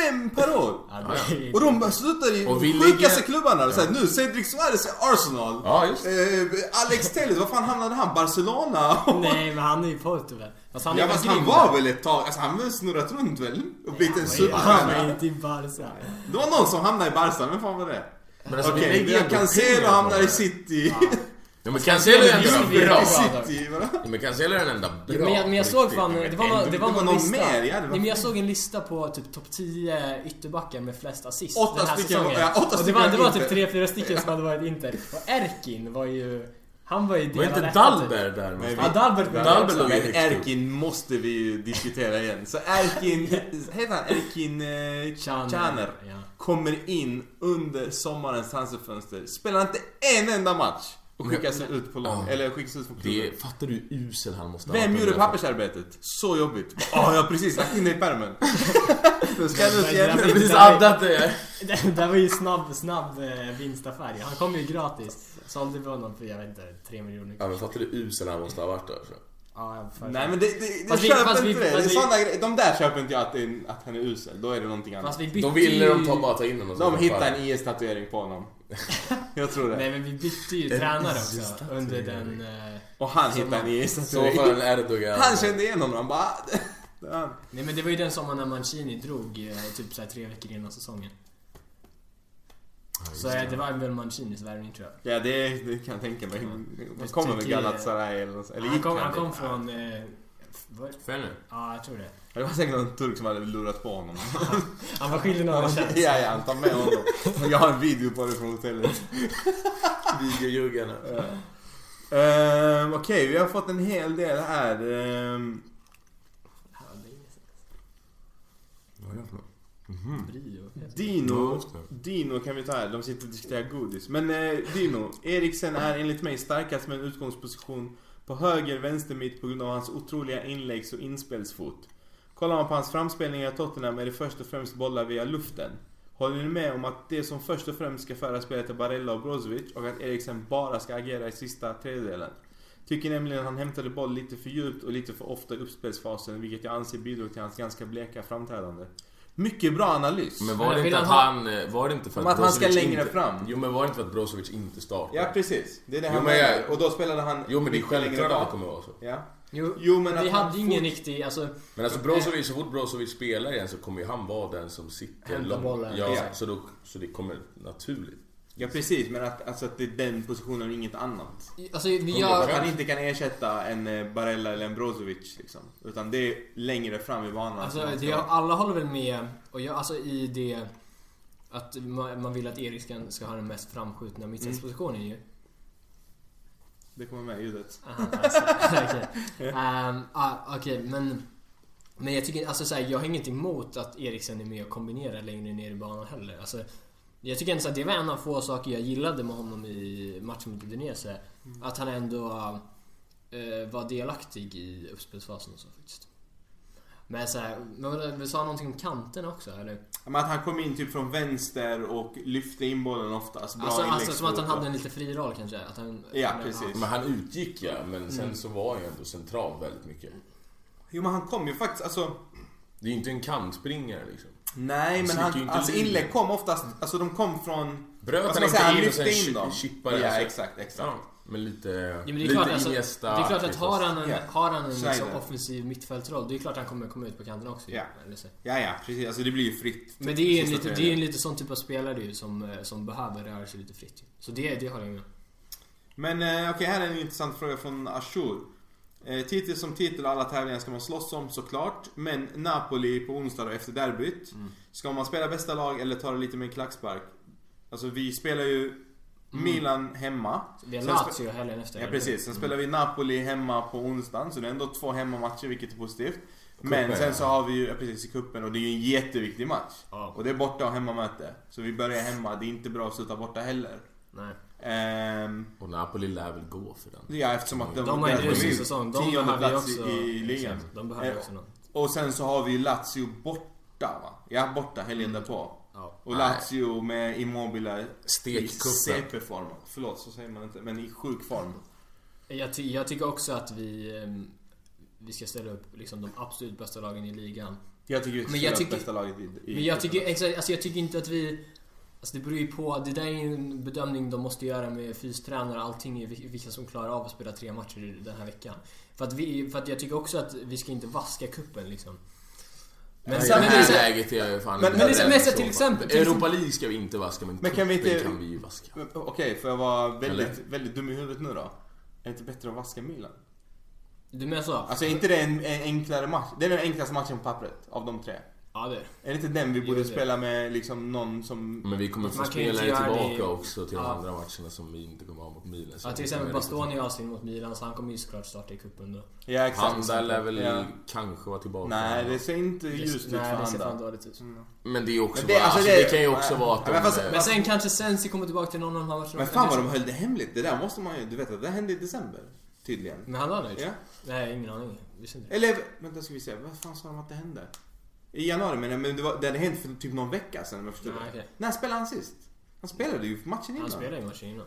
är fem per år. Ja, Ja, det, Och de slutar i Och vi de sjukaste ligger- klubbarna. Så här, nu Cedric Suarez i Arsenal. Ja just det. Eh, Alex Telles, var fan hamnade han? Barcelona? Nej men han är ju Porto väl? Fast han ja, är väl fast han grym var där? väl ett tag, alltså han har väl snurrat runt väl? Och blivit en Han superstjärna. är inte i Barca. Det var någon som hamnade i Barca, men fan var det? Men alltså, vi Okej, lägger okay, ändå Cancelo pengar på hamnar i det. City. Ja, men Cancelo är Just ändå det. I bra. Ja. City, va? Ja, Men Cancelo är den enda bra. Men jag, men jag på såg riktigt. fan, Ja, men det var, någon- det- det var det var någon någon lista. mer, ja, det var- Nej, men jag såg en lista på typ topp 10 ytterbackar med flest assist Åtta den här stycken säsongen. var- ja, åtta och det var, stycken det var var typ Inter. 3-4 stycken som hade varit Inter. Och Erkin var ju... Han var ju Var delad inte etta, typ. Dalberg där? Nej, Ja, Dalbert var Dalbert också. låg Men Erkin måste vi ju diskutera igen. Så Erkin, heter han Erkin eh, Chaner. Chaner? Ja. Kommer in under sommarens transferfönster, spelar inte en enda match och skickas ut på lång, Ja. eller skickas ut från klubben. Det, fattar du hur usel han måste ha Vem varit gjorde under- pappersarbetet? Så jobbigt. Ja, jag har precis lagt in det i pärmen. Nu ska jag ut Jag har igen. Precis addat det. Det där var ju snabb, snabb eh, vinstaffär ju. Han kom ju gratis. Sålde vi honom för jag vet inte, 3 miljoner Ja, kanske. men fattar du hur usel han måste ha varit alltså. Ja, jag får- Nej men det, det, det Fast vi- köper fast vi- inte det. det är fast vi- såna grejer. De där köper inte jag att, det är en- att han är usel. Då är det någonting annat. Fast vi bytte De ville ju... de ta, bara ta in honom. De hittar en IS-tatuering på honom. jag tror det. Nej men vi bytte ju En tränare också isstaty. under den... eh, Och han Så hittade en man- Så var IS-tatuering. en Erdogan. Han kände igen honom. Han bara... "Ah, det är han." Nej men det var ju den sommaren när Mancini drog eh, typ såhär tre veckor innan säsongen. Så eh, det var väl Mancinis värvning tror jag. Ja det, det kan jag tänka mig. Han Just kommer väl tycker- Galatasaray eller något sånt. Eller han gick kom, han dit? kom från... Eh, var, Fenner. ja, jag tror det. Ja, Det var säkert någon turk som hade lurat på honom. Han var skyldig några ja, tjänst. ja, han tar med honom. Jag har en video på det från hotellet. Videojuggarna. Ehm, Okej, vi har fått en hel del här. Ehm, Ja, det är inget. Vad är det för något? Brio. Ja, Dino, just det. Dino kan vi ta här. De sitter och diskuterar godis. Men eh, Dino, Eriksen är enligt mig starkast med en utgångsposition på höger, vänster, mitt på grund av hans otroliga inläggs och inspelsfot. Kollar man på hans framspelningar i Tottenham är det först och främst bollar via luften. Håller ni med om att det som först och främst ska föra spelet är Barella och Brozovic och att Eriksen bara ska agera i sista tredjedelen? Tycker nämligen att han hämtade boll lite för djupt och lite för ofta i uppspelsfasen vilket jag anser bidrog till hans ganska bleka framträdande. Mycket bra analys! Men Men var det vill inte att han han... eh, Var det inte för Om att, att han ska Brozovic längre inte, fram. Jo men var det inte för att Brozovic inte startade? Ja precis, det är det Jo, han men jag- menar. Och då spelade han Jo men det är mycket längre självklart att det bak. kommer vara så. Ja. Jo, Jo, men vi att han hade ju ingen riktig... Alltså, Men alltså Brozovic, så fort Brozovic spelar igen så kommer ju han vara den som sitter Hämta långt. bollen. Ja, Ja. Så, då, så det kommer naturligt. Ja precis, men att, alltså, att det är den positionen och inget annat. alltså vi Att gör... han inte kan ersätta en eh, Barella eller en Brozovic liksom. Utan det är längre fram i banan. Alltså, som han ska det, jag, vara. alla håller väl med, och jag, alltså i det att man, man vill att Eriksen ska ha den mest framskjutna mittfältspositionen ju. det kommer med i ljudet. Aha, alltså, Okej, Ehm, ah, okej, men... Men jag tycker alltså, så här, jag har inget emot att Eriksen är med och kombinerar längre ner i banan heller. Alltså, jag tycker ändå så här, det var en av få saker jag gillade med honom i matchen mot Udinese. Mm. Att han ändå eh, var delaktig i uppspelsfasen och så faktiskt. Men så här, men vadå, vi sa någonting om kanterna också eller? Men att han kom in typ från vänster och lyfte in bollen oftast. Bra Alltså, alltså som inläggsfot att han hade och- en lite fri roll kanske? Att han, Ja, men, precis. Men han utgick ja, men Mm. sen så var han ju ändå central väldigt mycket. Jo men han kom ju faktiskt, alltså... Det är ju inte en kantspringare liksom. Nej men gick ju han, inte hans in. inlägg kom oftast, alltså de kom från... Bröt Vad ska han man inte säga? Han in och lyfte sen in chi- dem. chippade, Ja alltså. exakt, exakt. Ja, men lite... Ja, men det, är lite klart, alltså, det Iniesta är klart att har han en, Ja. har han en liksom, Schneider. offensiv mittfältroll, det är klart han kommer komma ut på kanten också. ju. Ja. Eller så. Ja ja, precis. Alltså det blir ju fritt. Men det är ju en Sista lite, det är tredjedelen. en lite sån typ av spelare ju som, eh, som behöver röra sig lite fritt. ju. Så det, det har jag med. Men eh, okej, här är en intressant fråga från Ashur. Eh, titel som titel och alla tävlingar ska man slåss om såklart. Men Napoli på onsdag då, efter derbyt. Mm. Ska man spela bästa lag eller ta det lite med en klackspark? Alltså vi spelar ju Mm. Milan hemma. Vi har Sen spe- Lazio helgen efter. Ja precis, Mm. sen spelar vi Napoli hemma på onsdagen. Så det är ändå två hemmamatcher vilket är positivt. Men Cupen, sen ja. så har vi ju, ja, precis, i cupen och det är ju en jätteviktig match. Ja. Och det är borta och hemmamöte. Så vi börjar hemma, det är inte bra att sluta borta heller. Nej. Ehm, Och Napoli lär väl gå för den. Ja, eftersom att De har ju en där rusig på säsong. De tionde behöver ju plats också... i ligan. exakt, De behöver Eh, också någon. Och sen så har vi ju Lazio borta va? Ja, borta helgen därpå. Ja. Och Nej. Lazio med Immobile i Stekkuppen. CP-form. Förlåt, så säger man inte. Men i sjuk form. Jag, ty- jag tycker också att vi, ehm, vi ska ställa upp liksom, de absolut bästa lagen i ligan. Jag tycker vi Men jag spelar tycker- bästa laget i, i Men jag tycker, exakt, alltså jag tycker inte att vi... Alltså det beror ju på, det där är ju en bedömning de måste göra med fystränare och allting, vil- vilka som klarar av att spela tre matcher i den här veckan. För att, vi, för att jag tycker också att vi ska inte vaska kuppen liksom. Men, Men Nej, I men, sen- det här men, men, läget är jag ju fan Men- men rädd liksom, för men så så till fall. exempel- till Europa League ska vi inte vaska, men, Men kan vi cupen inte- kan vi ju vaska. Men, Okej, får jag vara väldigt, Eller? väldigt dum i huvudet nu då? Är det inte bättre att vaska Milan? du menar så? Alltså är inte det en, en enklare match? Det är den enklaste matchen på pappret av de tre. ja det är det. Är det inte den vi Jo, borde det. spela med liksom någon som... Men vi kommer få Man kan ju inte spelare göra det tillbaka i- också till de Ja. andra matcherna som vi inte kommer ha mot Milan. så Ja, till det exempel kommer riktigt- Bastoni är avstängd mot Milan så han kommer ju såklart starta i kuppen då. Ja exakt. Han där lär väl Ja. kanske vara tillbaka. Nej, det ser inte Det- ljust ut för Mm. Nej, det ser fan andra. dåligt ut. Men det är också Men det, bara, alltså, det, kan ju också nej. vara att de... Men fast- eh, Men sen kanske Sensi kommer tillbaka till någon av de här matcherna. Men fan vad de höll det hemligt. Det där måste man ju... Du vet att det hände i december. Tydligen. Men han har det Ja. Nej, ingen aning. Visste inte. Eller vänta ska vi se. Vad fan sa de att det hände? I januari menar jag, men det, var, det hade hänt för typ någon vecka sedan om jag förstod Nej, det. okej. När spelade han sist? Han spelade ju matchen innan. Han spelade ju matchen innan.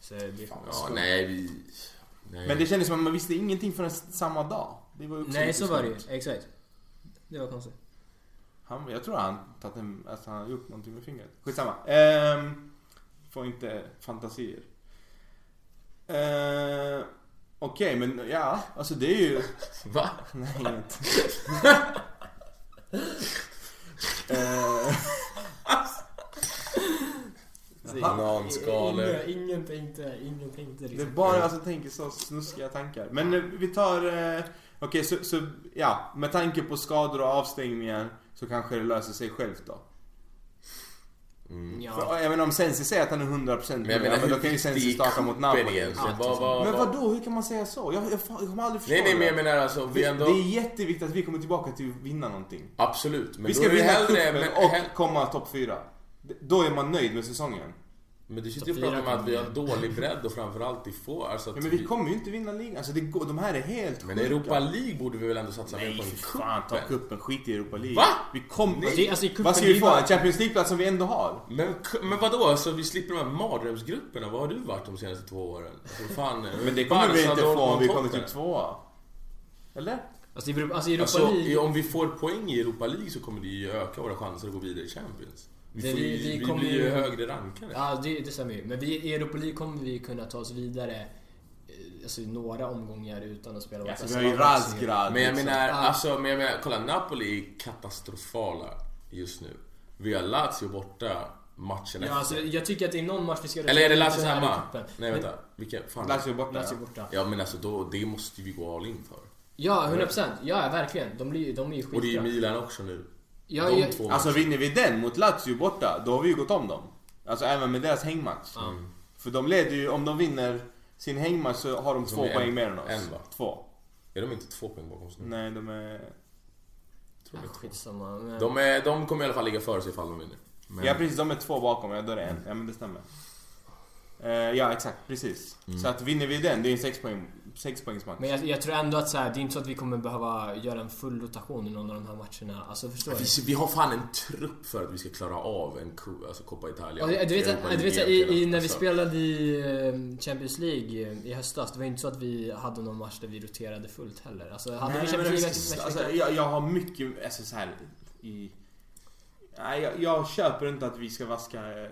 Så det... Fan, vad Ja, skumt. nej vi... Nej. Men det kändes som att man visste ingenting förrän samma dag. Det var ju också Nej, lite så var det ju. skumt. Exakt. Det var konstigt. Han, jag tror han tagit en, alltså han har gjort någonting med fingret. Skitsamma. Ehm, får inte fantasier. Ehm, Okej, men ja. Alltså det är ju... Va? Nej, inget. Ehm, Bananskalor. Ingen tänkte, ingen tänkte det är bara alltså, jag som tänker så snuskiga tankar. Men eh, vi tar... eh, Okej, så, så ja. Med tanke på skador och avstängningar så kanske det löser sig självt då. Ja. För, jag menar om Sensi säger att han är 100% men, menar, men då kan ju Sensi starta mot Napoli. egentligen? Ja, Vad- vad- Men vad- vadå, hur kan man säga så? Jag, jag, fan, jag kommer aldrig förstå Nej, nej, det. men jag menar alltså, vi det, ändå... det är jätteviktigt att vi kommer tillbaka till att vinna någonting. Absolut, men vi då ska är det vinna hellre... cupen Men, och hell- komma topp 4. Då är man nöjd med säsongen. men du sitter Topp och pratar om fyra att vi har kommer dålig bredd och framförallt i få. Alltså att Ja, men vi kommer ju inte vinna ligan. Alltså, det går, de här är helt men sjuka. Europa League borde vi väl ändå satsa mer Nej, på än för fan. Ta cupen? cupen. Skit i Europa League. Va? Vi kommer... Alltså, i- alltså, i cupen Vad ska vi blir få? bara- En Champions League-plats som vi ändå har? Men, cu- men vadå? Alltså, vi slipper de här mardrömsgrupperna. Vad har du varit de senaste två åren? Alltså, fan, Men det kommer vi inte få om vi kommer typ till tvåa. Eller? Alltså, i Europa- alltså i Europa Alltså, League... om vi får poäng i Europa League så kommer det ju öka våra chanser att gå vidare i Champions. Vi, Det- får ju, vi- vi vi, kommer blir ju ju- högre rankade. Ja, det, det stämmer ju. Men vi, i Europa League kommer vi kunna ta oss vidare eh, alltså, i några omgångar utan att spela vårt Alltså, vi bästa har ju lag också. Razgrad. Men jag liksom. menar, Ah. alltså, men jag menar, kolla Napoli är katastrofala just nu. Vi har Lazio borta matchen Ja, efter. alltså, jag tycker att det är någon match vi ska... Eller är det Lazio så här i hemma? cupen. Nej vänta, vilka? Fan. Lazio är borta. Lazio borta. Ja men alltså då, det måste vi gå all in för. Ja, 100%. Ja, verkligen. De, blir, de är ju skitbra. Och det är ju Milan också nu. Ja, De ja, två Alltså matcherna. vinner vi den mot Lazio borta, då har vi ju gått om dem. Alltså även med deras hängmatch. Mm. För de leder ju, om de vinner sin hängmatch så har de, De två är Mm. en- poäng mer än oss. en, va? Två. Är de inte två poäng bakom oss nu? Nej, de är... Ja, skitsamma. Men... De, är, de kommer i alla fall ligga före sig ifall de vinner. Men, Ja precis, de är två bakom, ja då är det en. Ja men det stämmer. Eh, ja exakt, precis. Mm. Så att vinner vi den, det är en sexpoäng, sexpoängsmatch. Men jag, jag tror ändå att så här, det är inte så att vi kommer behöva göra en full rotation i någon av de här matcherna. Alltså förstår du? vi, vi har fan en trupp för att vi ska klara av en ko, alltså Coppa Italia. Ja, du vet, Europa att, du vet League att, i, i, egentligen. när vi Alltså, spelade i eh, Champions League eh, i höstas, det var inte så att vi hade någon match där vi roterade fullt heller. Alltså, hade vi Nej, men Champions League alltså, match, alltså, match, jag, jag har mycket, alltså så här, i... Nej, jag, jag köper inte att vi ska vaska eh,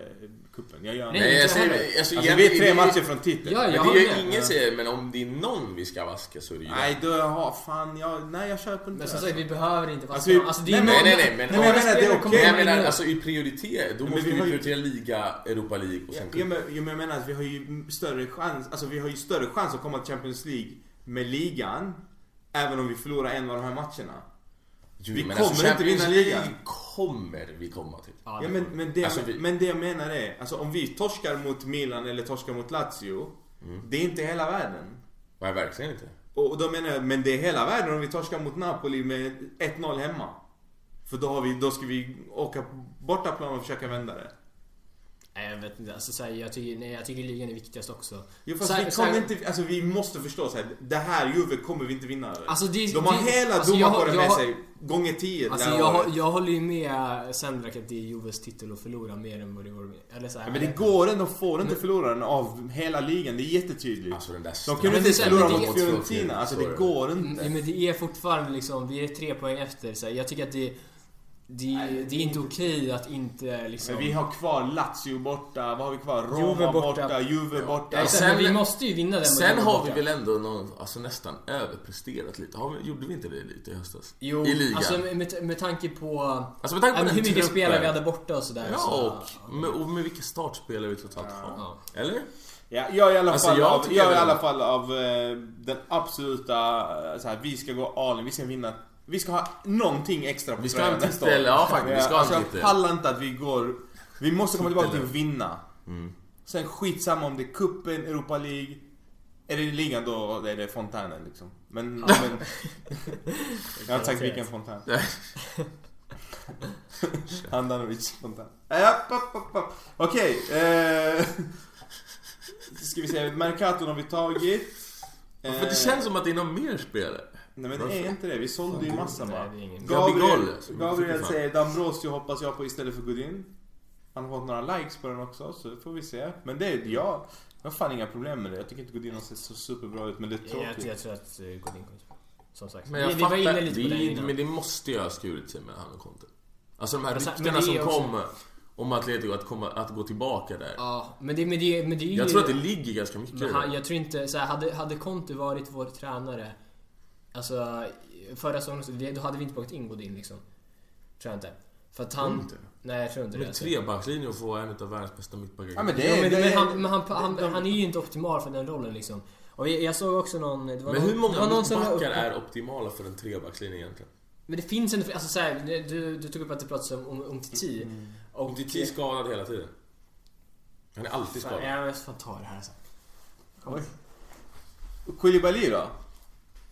kuppen. Jag gör Nej, Nej, inte jag säger, heller. alltså, Alltså egentligen- vi är tre det- matcher från titeln. Ja, Men jag det håller är med. ju ingen säger, men om det är någon vi ska vaska så är det ju Nej, då har fan jag... Nej, jag köper inte Men som det. sagt, vi behöver inte vara Alltså, vi- alltså, alltså, det är nej, Nej, någon- nej, nej, men, Nej, men jag menar, det är spelare okej. kommer Men jag in menar nu. alltså i prioritet, då men måste vi vi, har ju- prioritera liga, Europa League och sen Jo, cup. men, jo, men jag menar att vi har ju större chans, alltså vi har ju större chans att komma till Champions League med ligan. Även om vi förlorar en av de här matcherna. Jo, vi men alltså, kommer inte vinna Champions ligan. League kommer vi komma till. Ja, Ja, men, men, det, Alltså, vi- men det jag menar är, alltså om vi torskar mot Milan eller torskar mot Lazio. Det är inte hela världen. Nej, verkligen inte. Och och då menar jag, men det är hela världen om vi torskar mot Napoli med 1-0 hemma. För då, har vi, då ska vi åka på bortaplan och försöka vända det. Nej, jag vet inte. Alltså, så här, jag, tycker, nej, jag tycker ligan är viktigast också. Jo fast Så här- vi så här- kommer inte, alltså vi måste förstå så här, det här Juve kommer vi inte vinna över. Alltså, det- De har det- hela alltså, jag har- domarkåren med jag har- sig, gånger 10 Alltså det här jag, året. jag håller ju med Sendrak att det är Juves titel att förlora mer än vad det går Eller så här, Ja, Men det går ändå, de får inte förlora den av hela ligan, det är jättetydligt. Alltså den där de stora- kunde men inte det- förlora men mot det- Fiorentina, alltså det går Mm, inte. Men det är fortfarande liksom, vi är tre poäng efter. Så här, jag tycker att det, det, det är inte okej att inte liksom... Men vi har kvar Lazio borta, vad har vi kvar? Roma Juve borta. borta. Juve borta. Ja, Alltså, sen, men vi sen- måste ju vinna den mot Sen Juve har vi borta. väl ändå någon, alltså nästan överpresterat lite. Har vi, gjorde vi inte det lite i höstas? Jo, I ligan? alltså med, med, med tanke på... Alltså, med tanke på ja, men den hur mycket truppen. spelare vi hade borta och sådär. så, ja, och med, och med vilka startspelare vi trots allt har. Eller? Ja, jag är i alla Alltså, fall, jag av, tycker jag är i väl- alla fall av eh, den absoluta, eh, så här, vi ska gå all in, vi ska vinna. Vi ska ha någonting extra på Vi ska ha tröjan en nästa titel, år. ja, faktiskt, vi ska ha en alltså, Jag titel. pallar inte att vi går, vi måste komma tillbaka till Titeln. att vinna. Mm. Sen skitsamma om det är cupen, Europa League, är det ligan då är det fontänen liksom. Men, men jag har inte sagt vilken fontän. Handanovic fontän. App, app, app, app. Okej. Eh, ska vi se, Mercaton har vi tagit. Eh, För det känns som att det är någon mer spelare. Nej men det är inte det, vi sålde ju massa Nej, va? det är ingen- Gabriel, Gabigol, alltså. Gabriel Fan. säger Dambrosio hoppas jag på istället för Godin. Han har fått några likes på den också så får vi se. Men det, är jag, jag har fan inga problem med det. Jag tycker inte Godin har sett så superbra ut men det är Jag, jag, tråkigt. jag tror att eh, Godin kommer Som sagt. Men jag vi, vi var fattar, inne lite på det det, innan. men det måste ju ha skurit sig med han och Conte. Alltså de här Men så- men ryktena det som är också- kom om Atletico att, komma, att gå tillbaka där. Ja, men det, men det, men det är ju... Jag tror att det ligger ganska mycket i Men han, det. jag tror inte, så här, hade, hade Conte varit vår tränare Alltså förra säsongen, så- det- då hade vi inte behövt ingå in liksom. Tror jag inte. För att han... inte? Nej jag tror inte det. alltså. Med trebackslinjen och få en av världens bästa mittbackar. Ja, men det, Jo, men, det, men, han, men han, han, han är ju inte optimal för den rollen liksom. Och jag, jag såg också någon... Det var Men någon, hur det var många någon som la upp- mittbackar är optimala för en trebackslinje egentligen? Men det finns ändå, alltså så här, du, du tog upp att det pratas om, om, om Titi. Mm. Och Och Titi är skadad hela tiden. Han är alltid Fan, skadad. Jag måste fan ta det här alltså. sen. Oj. Koulibaly då?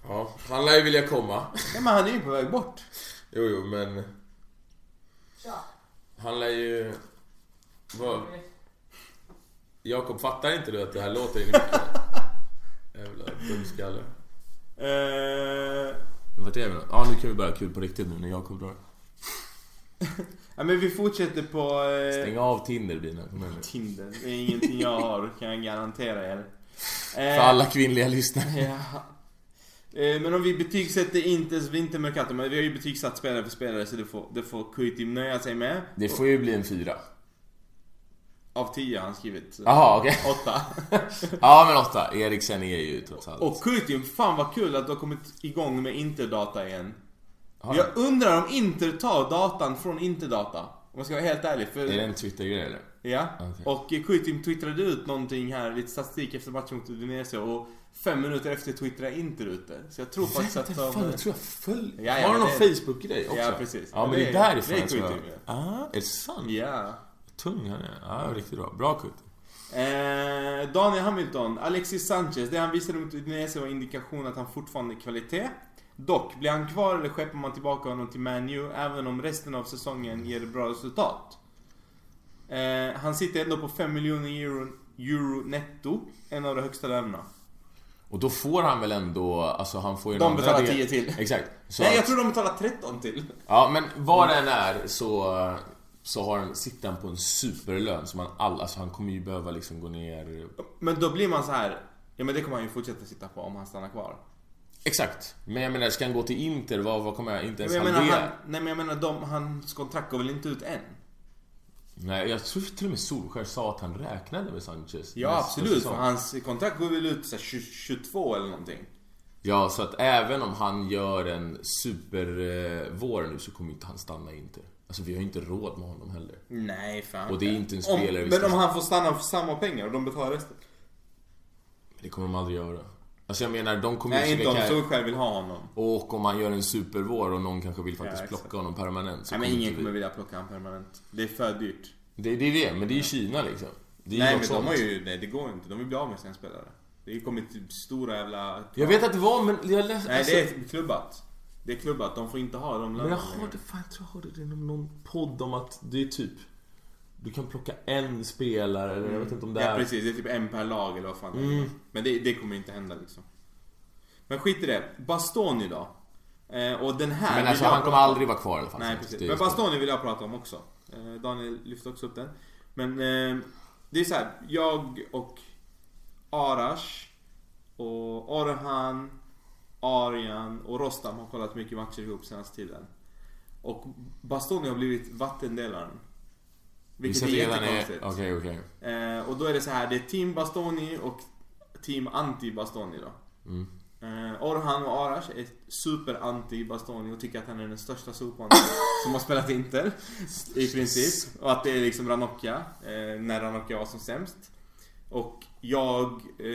Ja, han lär ju vilja komma. Ja, men han är ju på väg bort. Jo, jo, men... Han lär ju... Vad... Jakob, fattar inte du att det här låter in i micken? Jävla dumskalle. Eh, Vart är vi då? Ja, nu kan vi börja ha kul på riktigt nu när Jakob drar. ja, men vi fortsätter på... Eh, Stäng av Tinder, Bina. Kom igen nu. Tinder. Det är ingenting jag har, kan jag garantera er. För Eh, alla kvinnliga lyssnare. Ja. Eh, Men om vi betygsätter inte ens vintermerkato, men vi har ju betygsatt spelare för spelare så det får, det får Kuitim nöja sig med. Det får ju bli en fyra. Av 10 har han skrivit. så Jaha, okej. Åtta. Ja, men åtta. Eriksen är ju trots allt... Och Kuitim, fan vad kul att du har kommit igång med Interdata igen. Har Jag undrar om Inter tar datan från Interdata. Om jag ska vara helt ärlig. För, Är det en Twitter-grej eller? Ja. Okej. Och eh, Kuitim twittrade ut någonting här, lite statistik efter matchen mot Udinese och fem minuter efter twittrade Inter ut det. Så jag tror faktiskt att de... Fan, jag tror jag följer... Ja, ja, har men du någon det- Facebook-grej också? Ja, precis. Ja, men Men det, det- är därifrån det är jag tror jag- Kuitim, Ah, är det sant? Ja. Tung han är. Ja, riktigt bra. Bra Kuitim. Eh, Daniel Hamilton, Alexis Sanchez. Det han visade mot Udinese var indikation att han fortfarande är kvalitet. Dock, blir han kvar eller skeppar man tillbaka honom till Man U även om resten av säsongen ger bra resultat? Eh, han sitter ändå på 5 miljoner euro, euro netto, en av de högsta lönerna. Och då får han väl ändå, alltså han får ju en De andra betalar del- 10 till. Exakt. Så Nej, jag att- tror de betalar 13 till. Ja, men vad den är så, så har han, sitter han på en superlön som han all, alltså han kommer ju behöva liksom gå ner... Men då blir man så här. ja men det kommer han ju fortsätta sitta på om han stannar kvar. Exakt. Men jag menar, ska han gå till Inter, vad, vad kommer jag, inte Men ens jag han menar, det? han, nej men jag menar, de, hans kontrakt går väl inte ut än? Nej, jag tror till och med Solskjaer sa att han räknade med Sanchez. Ja nästa absolut, för säsong. hans kontrakt går väl ut så här, 20 22 eller någonting. Ja, så att även om han gör en supervår nu så kommer inte han stanna i Inter. Alltså vi har ju inte råd med honom heller. Nej fan. Och det är inte en om, spelare vi Men ska... om han får stanna för samma pengar och de betalar resten? Det kommer de aldrig göra. Alltså jag menar, de kommer Nej ju inte om försöka- Solskjaer vill ha honom. Och om han gör en supervår och någon kanske vill faktiskt Ja, exakt. plocka honom permanent så Nej men ingen inte vi- kommer vilja plocka honom permanent. Det är för dyrt. det, det är det, men det är ju Kina liksom. Det är Nej men något de sånt. har ju, nej det går inte. De vill bli av med sina spelare. Det har ju kommit typ stora jävla... Jag vet att det var, men jag läste... Nej alltså, det är klubbat. Det är klubbat, de får inte ha de Men jag lönerna längre. hörde, fan jag tror jag hörde det inom någon podd om att det är typ... Du kan plocka en spelare, eller jag vet inte om det Ja är... precis, det är typ en per lag eller vad fan det är. Mm. Men det, det kommer inte hända liksom. Men skit i det. Bastoni då? Eh, och den här... men vill alltså jag han kommer prata- aldrig vara kvar i alla fall. Nej Så Alltså, det precis. är Men ju- Bastoni vill jag prata om också. Eh, Daniel lyfte också upp den. Men eh, det är så här. Jag och Arash och Orhan, Arian och Rostam har kollat mycket matcher ihop senaste tiden. Och Bastoni har blivit vattendelaren. Vi Vilket sätter är redan är... jättekonstigt. Okej, okej. Eh, och då är det så här, det är Team Bastoni och Team Anti Bastoni då. Mm. Eh, Orhan och Arash är super anti Bastoni och tycker att han är den största sopan som har spelat Inter. I princip. Och att det är liksom Ranocchia, eh, när Ranocchia var som sämst. Och jag, eh,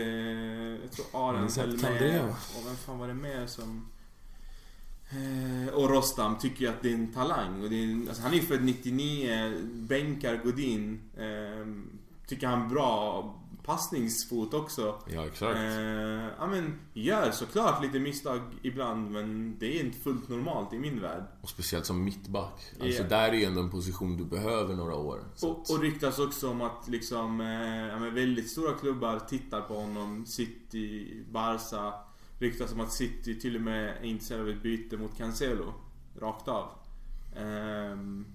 jag tror Aran Men så höll kan med. det vara. Och vem fan var det mer som... Eh, och Rostam tycker ju att det är en talang. Och det är, en- alltså han är ju född 99, bänkar Godin. Eh, tycker han bra passningsfot också. Ja, exakt. Eh, ja men gör såklart lite misstag ibland men det är inte fullt normalt i min värld. Och speciellt som mittback. Alltså Ja. där är ju ändå en position du behöver några år. Så Och, och ryktas också om att liksom, eh, ja, men väldigt stora klubbar tittar på honom. City, Barca. Ryktas om att City till och med är intresserade av ett byte mot Cancelo. Rakt av. Ehm,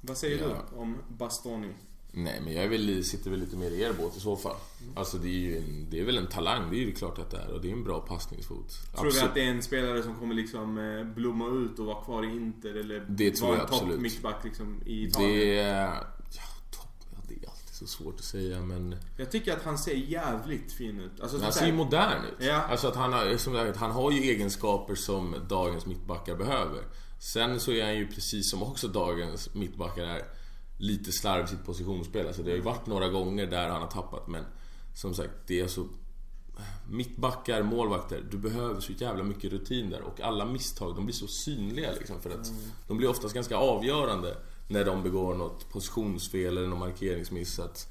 vad säger du Ja. om Bastoni? Nej, men jag är väl, sitter väl lite mer i er båt i så fall. Mm. Alltså det är ju en, det är väl en talang, det är ju klart att det är. Och det är en bra passningsfot. Tror du att det är en spelare som kommer liksom eh, blomma ut och vara kvar i Inter eller Det tror vara jag absolut. topp mittback liksom i Italien? Det är... Ja, topp, ja, det är alltid så svårt att säga men... Men Jag tycker att han ser jävligt fin ut. Alltså, han så ser ju här- modern ut. Ja. Alltså att han har, som sagt, han har ju egenskaper som dagens mittbackar behöver. Sen så är han ju precis som också dagens mittbackar är lite slarv i sitt positionsspel. Alltså det har ju varit några gånger där han har tappat men som sagt det är så mittbackar, målvakter, du behöver så jävla mycket rutin där och alla misstag de blir så synliga liksom för Mm. att de blir oftast ganska avgörande när de begår något positionsfel eller någon markeringsmiss. Så att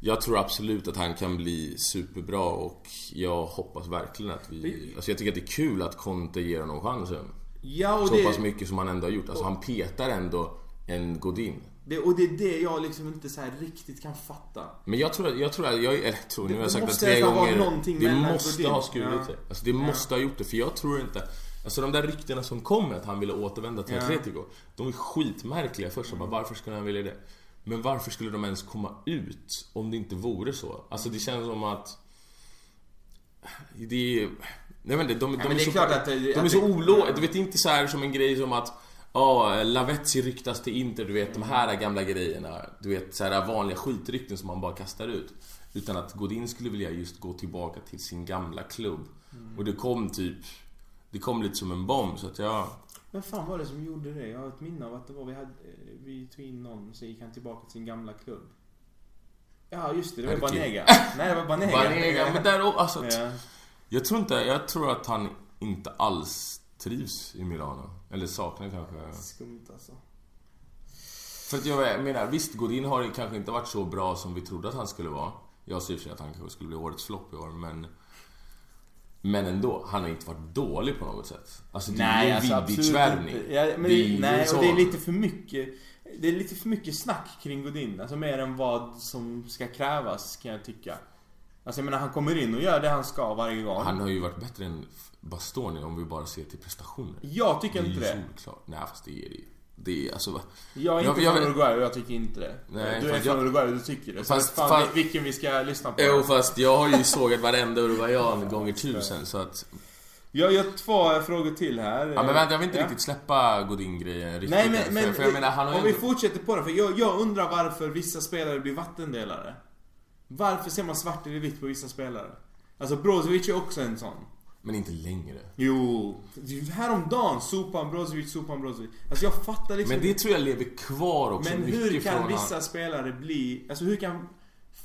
jag tror absolut att han kan bli superbra och jag hoppas verkligen att vi... Alltså jag tycker att det är kul att Conte ger honom chansen. Ja, och Så det, pass mycket som han ändå har gjort. Alltså han petar ändå en Godin. det, och det är det jag liksom inte så här riktigt kan fatta. Men jag tror att, jag tror att, jag, eller jag tror, nu Det- har det jag sagt det måste tre nästan vara gånger. någonting Det mellan måste Godin. ha skurit Ja. sig. Alltså det måste ha gjort det, för jag tror inte... Alltså de där ryktena som kom att han ville återvända till Ja. Mm. Atletico. De är skitmärkliga först. Jag Bara, varför skulle han vilja det? Men varför skulle de ens komma ut om det inte vore så? Alltså det känns som att... Det är... Nej men det, de, de men det är så, klart att det- de är att så det- olåga. Du vet, det är inte så här som en grej som att Ja, Lavetzi ryktas till Inter, du vet de här gamla grejerna. Du vet så här vanliga skitrykten som man bara kastar ut. Utan att Godin skulle vilja just gå tillbaka till sin gamla klubb. Och det kom typ... Det kom lite som en bomb så att jag... Vem fan var det som gjorde det? Jag har ett minne av att det var vi, hade, eh, vi tog in någon så gick han tillbaka till sin gamla klubb. Ja just det, det var Herregud. Banega. Nej det var Banega. Banega, men där och- alltså, Ja. Jag tror inte... Jag tror att han inte alls trivs i Milano. Eller saknar kanske... Skumt alltså. För att jag menar, visst Godin har kanske inte varit så bra som vi trodde att han skulle vara. Jag ser i och för sig att han kanske skulle bli årets flopp i år, men... Men ändå, han har inte varit dålig på något sätt. Alltså det är ju en Vidic-värvning. inte. Ja, men Det det är ju nej, så. och det är lite för mycket Det är lite för mycket snack kring Godin. Alltså mer än vad som ska krävas kan jag tycka. Alltså jag menar han kommer in och gör det han ska varje gång. Han har ju varit bättre än Bastoni om vi bara ser till prestationer. Jag tycker inte ju det. solklart. Nej, fast det är det ju. Det är alltså... va- Jag är Jag- inte jag från vet- Uruguay och jag tycker inte det. Nej, du är fast från jag- Uruguay och du tycker det. Så Fast- fan, fast- vilken vi ska lyssna på. Jo, fast jag har ju sågat varenda Uruguayan gånger tusen, så att... Jag gör två frågor till här. Ja, men vänta, jag vill inte Ja. riktigt släppa Godin-grejen riktigt. Nej än, men, men för, för jag menar, han har ju om vi ändå- fortsätter på det. För jag, jag undrar varför vissa spelare blir vattendelare. Varför ser man svart eller vitt på vissa spelare? Alltså Brozovic är också en sån. Men inte längre. Jo. Häromdagen sopan Brozovic, sopan Brozovic. Alltså jag fattar liksom Men det tror jag lever kvar också Men mycket hur från kan vissa han. spelare bli... Alltså hur kan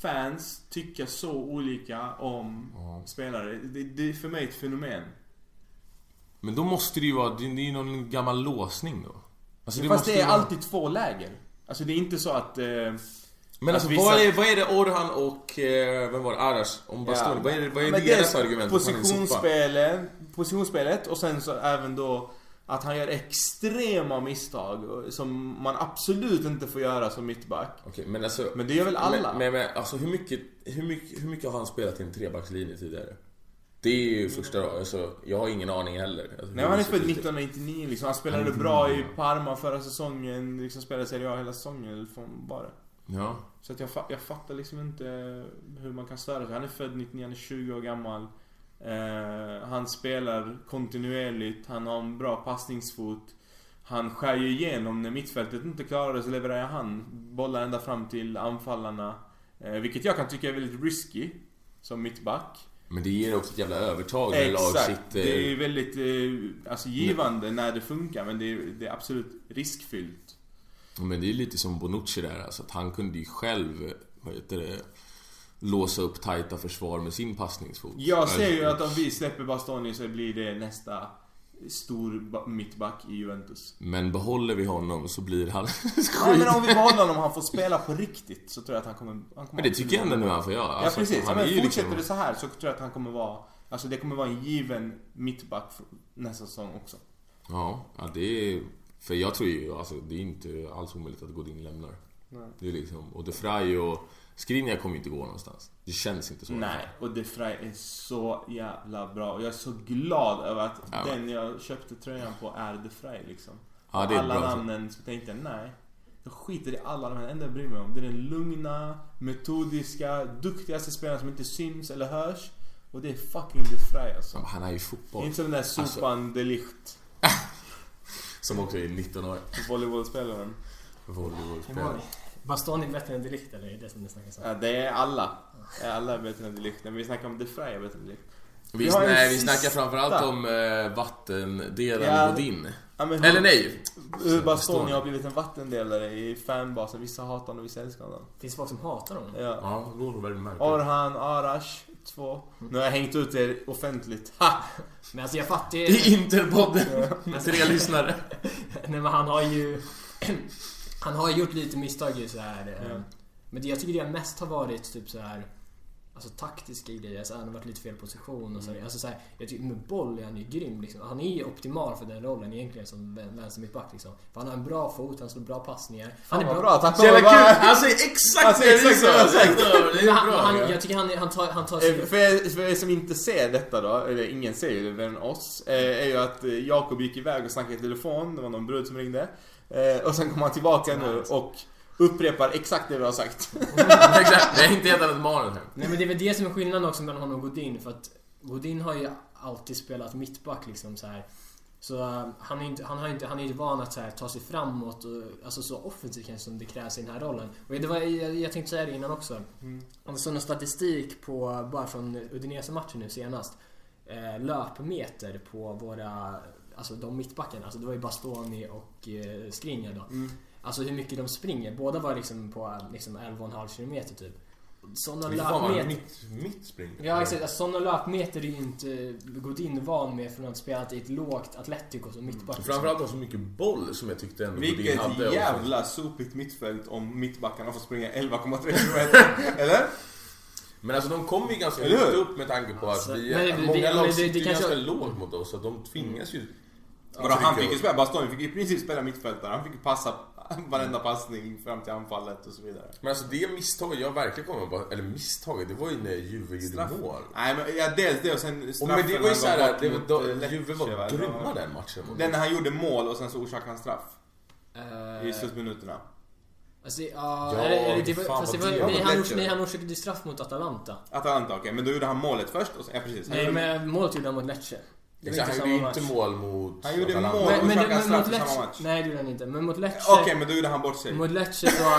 fans tycka så olika om Ja. spelare? Det, det är för mig ett fenomen. Men då måste det ju vara, det är ju någon gammal låsning då. Alltså, Fast måste det ju är vara- alltid två läger. Alltså det är inte så att... Eh, Men alltså att vissa- vad, är, vad är det Orhan och, eh, vem var det, Arash om Bastoni? Vad är, det- vad är Men deras argument? att han är en sopa? positionsspelet, positionsspelet och sen så även då att han gör extrema misstag och- som man absolut inte får göra som mittback. Okej, men alltså... Men det gör väl alla? Men, men, men alltså hur mycket, hur mycket, hur mycket har han spelat i en trebackslinje tidigare? Det är ju första dagen, alltså, jag har ingen aning heller. Alltså, Nej, hur han är det ser född ut. 1999 liksom. Han spelade bra i Parma förra säsongen. Liksom spelade Serie A hela säsongen. Eller från bara. Ja. Så att jag, fa- jag fattar liksom inte hur man kan störa sig. Han är född 99, han är 20 år gammal. Eh, han spelar kontinuerligt, han har en bra passningsfot. Han skär ju igenom när mittfältet inte klarar det så levererar han bollar ända fram till anfallarna. Eh, vilket jag kan tycka är väldigt risky som mittback. Men det ger också ett jävla övertag när lag Exakt. sitter... Det är ju väldigt eh, alltså, givande när det funkar men det är, det är absolut riskfyllt. Ja, Men det är lite som Bonucci där, alltså att han kunde ju själv, vad heter det, låsa upp tajta försvar med sin passningsfot. Jag ser ju Alltså, att om vi släpper Bastoni så blir det nästa stor ba- mittback i Juventus. Men behåller vi honom så blir han skit. Nej men om vi behåller honom och han får spela på riktigt så tror jag att han kommer... Han kommer Men det tycker jag ändå nu han får göra. Ja Alltså, precis. Ja, han är men ju fortsätter liksom- det så här så tror jag att han kommer vara... Alltså det kommer vara en given mittback för- nästa säsong också. Ja, ja, det är... För jag tror ju, alltså det är inte alls omöjligt att Godin lämnar. Nej. Det är liksom, och De Frey och Skriniar kommer ju inte gå någonstans. Det känns inte så. Nej, och De Frey är så jävla bra. Och jag är så glad över att Ja. den jag köpte tröjan på är De Frey liksom. Ja, det är alla bra. namnen så tänkte jag nej. Jag skiter i alla de här, det enda jag bryr mig om det är den lugna, metodiska, duktigaste spelaren som inte syns eller hörs. Och det är fucking De Frey alltså. Ja, Han är ju fotboll. Inte som den där alltså- sopan De Ligt, Som också är 19 år. volleybollspelaren. Volleybollspelare. Bastoni är bättre än Delict eller? Är det som ni snackar om? Ja, det är alla. Alla är bättre än De Ligt. När vi snackar om De Frey är bättre än De Ligt. Vi, Vi har en nej, vi sista. snackar framförallt om eh, vattendelen Ja. Godin. Ja, men hur- Eller nej! Hur Bastoni har blivit en vattendelare i fanbasen. Vissa hatar honom, vissa älskar honom. Mm. Finns folk som hatar honom? Ja. Ja, Gorberg märker. Orhan, Arash, två. Nu har jag hängt ut er offentligt. Ha! Men alltså jag fattar I ju... Interpodden. Ja. Tre lyssnare. Nej men han har ju... Han har gjort lite misstag i så här. eh, Mm. Ja. Men det jag tycker det mest har varit typ så här. Alltså taktiska grejer, alltså, han har varit lite fel position och så, Mm. här. alltså, så här, jag tycker, Med boll är han ju grym liksom. Han är ju optimal för den rollen egentligen som vän- vänstermittback liksom. För han har en bra fot, han slår bra passningar. Han är Vad bra. bra, tack Så jävla vara- kul! Han säger exakt Alltså, det vi exakt sa! vad jag sagt. Det Men är han, bra. han, ja. jag tycker han, han tar, han tar Eh, Alltså- sig För er, för er som inte ser detta då, eller ingen ser ju det men oss, eh, är ju att eh, Jakob gick iväg och snackade i telefon, det var någon brud som ringde. Eh, Och sen kommer han tillbaka nu och upprepar exakt det vi har sagt. Exakt. Det är inte helt annat manus här. Nej men det är väl det som är skillnaden också mellan honom och Godin för att Godin har ju alltid spelat mittback liksom så här. Så eh, han är inte, han har inte, han är inte van att så här, ta sig framåt och alltså så offensivt kanske som det krävs i den här rollen. Och det var, jag, jag tänkte säga det innan också. Jag såg någon statistik på, bara från Udinese-matchen nu senast. Eh, löpmeter på våra, alltså de mittbackarna. Alltså det var ju Bastoni och eh, Skriniar då. Mm. Alltså hur mycket de springer. Båda var liksom på eh, liksom 11,5 kilometer typ. Sådana Fy fan vad löpmeter. mitt, mitt spring. Ja exakt, alltså, sådana löpmeter är ju inte Godin van med från att ha spelat i ett lågt Atletico som mittback. liksom. Framförallt har så mycket boll som jag tyckte ändå Godin Vilket hade. och- jävla sopigt mittfält om mittbackarna får springa 11,3 km. Eller? Men alltså de kommer ju ganska Eller hur? högt upp med tanke på att Alltså, vi, men det- det- många men lag det- sitter det ju kanske- ganska lågt mot oss så att de tvingas ju... Vadå, han fick ju ju... spela, Bastoni fick i princip spela mittfältare. Han fick ju passa varenda passning fram till anfallet och så vidare. Men alltså det misstaget jag verkligen kommer på, eller misstaget, det var ju när Juve gjorde Straff. mål. Nej men ja, dels det och sen Och men det var ju han gav såhär, bort det var- mot, då- eh, Lecce, Juve va? var grymma den matchen. mot Den oss. när han gjorde mål och sen så orsakade han straff. I Eh, slutminuterna. Alltså, ja, Ja, eller- eller det var- fan, fast det vad det var- var nej, mot han Lecce. nej, han orsakade ju straff mot Atalanta. Atalanta, okej. Men då gjorde han målet först och sen, ja precis. Han Nej gjorde, men målet gjorde han mot Lecce. Det var Exakt, Alltså, han samma gjorde ju inte match. mål mot Han gjorde Atalanta. mål. Men- och Men, men, orsakade men straff mot i samma Lecce, match. nej det gjorde han inte. Men mot Lecce, Okej, men då gjorde han bort sig. mot Lecce så...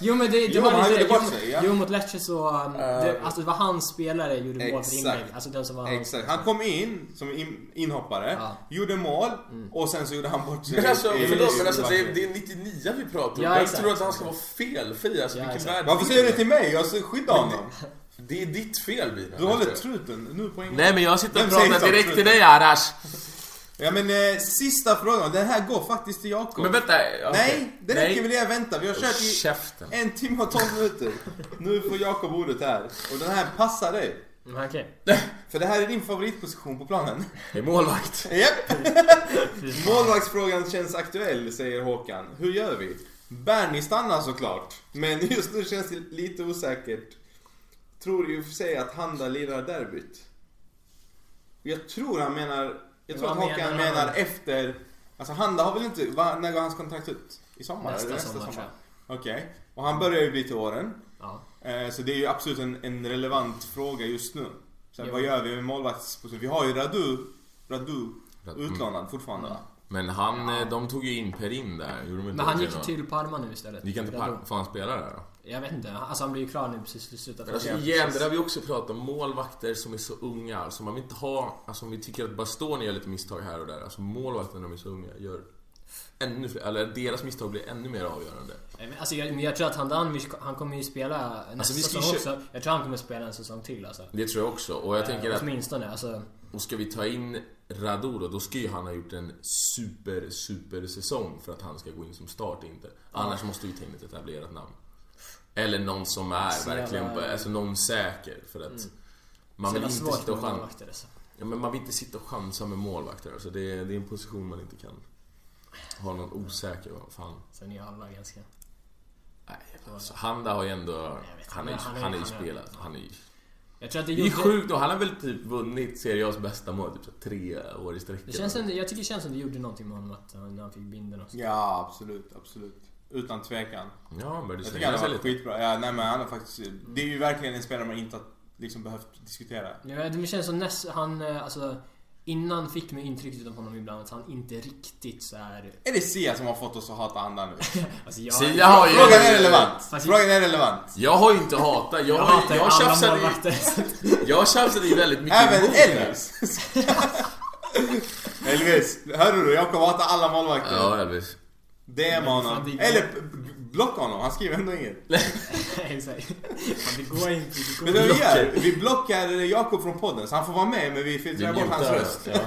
jo men det, det Jo, var men han lite gjorde det. bort Jo, sig, ja. jo mot Lecce så... Um, det, Eh, alltså det var hans spelare gjorde mål för exakt. inlägg. Alltså den som var hans. Exakt. Han kom in som in, inhoppare, Ja. gjorde mål och sen så gjorde han bort sig. Men alltså, i- förlåt, i- men alltså det, är, backen. det är 99 vi pratar om. Ja, Vem exakt. tror att han ska vara felfri? Alltså, Ja, vilken exakt. värld Varför säger du till mig? Jag ska skydda honom. Det är ditt fel, Bina. Alltså. Du håller truten nu på en gång. Nej, men jag sitter Vem och säger pratar så? direkt till Truten. dig, Arash. Ja men eh, sista frågan, den här går faktiskt till Jakob. Men vänta. okej. Nej, det Nej. räcker med det jag väntar. Vi har kört i Käften. en timme och tolv minuter. Nu får Jakob ordet här. Och den här passar dig. Men Mm, okej. För det här är din favoritposition på planen. Det är målvakt. Japp! Målvaktsfrågan känns aktuell, säger Håkan. Hur gör vi? Bernie stannar såklart, men just nu känns det lite osäkert. Tror ju för sig att Handa lirar derbyt. Jag tror han menar... Jag tror Vad att Håkan menar han? menar efter... Alltså Handa har väl inte... Va, när går hans kontrakt ut? I sommar? Nästa eller sommar, tror Okej. Och han börjar ju bli till åren. Ja. Eh, Så det är ju absolut en, en relevant fråga just nu. Sen, Ja. Vad gör vi med målvaktsposition? Vi har ju Radu, Radu Radu. Mm. utlånad fortfarande. va? Men han, eh, de tog ju in Perin där. Gjorde de inte Men han det, gick tror jag. till Parma nu istället. Gick han till Parma? Får han spela där då? Jag vet inte. Alltså han blir ju klar nu precis i slutet av Alltså säsongen. igen, det där vi också pratar om. Målvakter som är så unga. Alltså man vill inte ha... Alltså om vi tycker att Bastoni gör lite misstag här och där. Alltså målvakter när de är så unga gör ännu fler... Eller deras misstag blir ännu mer avgörande. Nej, men Alltså jag, men jag tror att Handanovic, han kommer ju spela nästa Alltså, vi ska ju säsong kö- också. Jag tror han kommer spela en säsong till alltså. Det tror jag också. Och jag tänker Eh, att... Åtminstone. Alltså, Och ska vi ta in Radu då, då ska ju han ha gjort en super, super säsong för att han ska gå in som start inte. Annars måste vi ta in ett etablerat namn. Eller någon som är Så jävla- Mm. verkligen, på, alltså någon säker för att man så vill jävla inte svårt sitta med och chansa. målvakter alltså. Ja, men man vill inte sitta och chansa med målvakter. Alltså det, är, det är en position man inte kan ha någon osäker. Vad fan. Sen är alla ganska... Nej, alltså, Handa har ju ändå... Jag vet, Han är ju- han är- han är ju han är- spelad. Han är ju... Jag tror att det Det är gjorde... sjukt och han har väl typ vunnit Serie A's bästa mål typ så här tre år i sträck. Det känns som, det- jag tycker det känns som det gjorde någonting med honom att han, när han fick binden också. Ja, absolut, absolut. Utan tvekan. Ja, han började Jag tycker han slänga har sig varit lite. skitbra. Ja, nej, men han har faktiskt, det är ju verkligen en spelare man inte har liksom, behövt diskutera. Ja, det känns som näst, han, eh, alltså... Innan fick man intrycket av honom ibland att han inte riktigt så här. Är det Sia som har fått oss att hata Handa nu? Alltså jag... Sia har ju... Frågan är relevant! Fast- Frågan är relevant! Jag har ju inte hatat. Jag, Jag har ju- hatar ju jag, alla tjafsade, ju- målvakter. jag tjafsade ju väldigt mycket Även emot det. Elvis! Elvis, hörde du? Jag kommer hata alla målvakter. Ja, Elvis. DM Men fan, honom. det är- Eller b- b- Blocka honom, han skriver ändå inget. Exakt. Fan, det går inte. Det går Men det inte. vi gör, vi blockar Jakob från podden så han får vara med men vi filtrerar bort hans mutar. röst. Ja,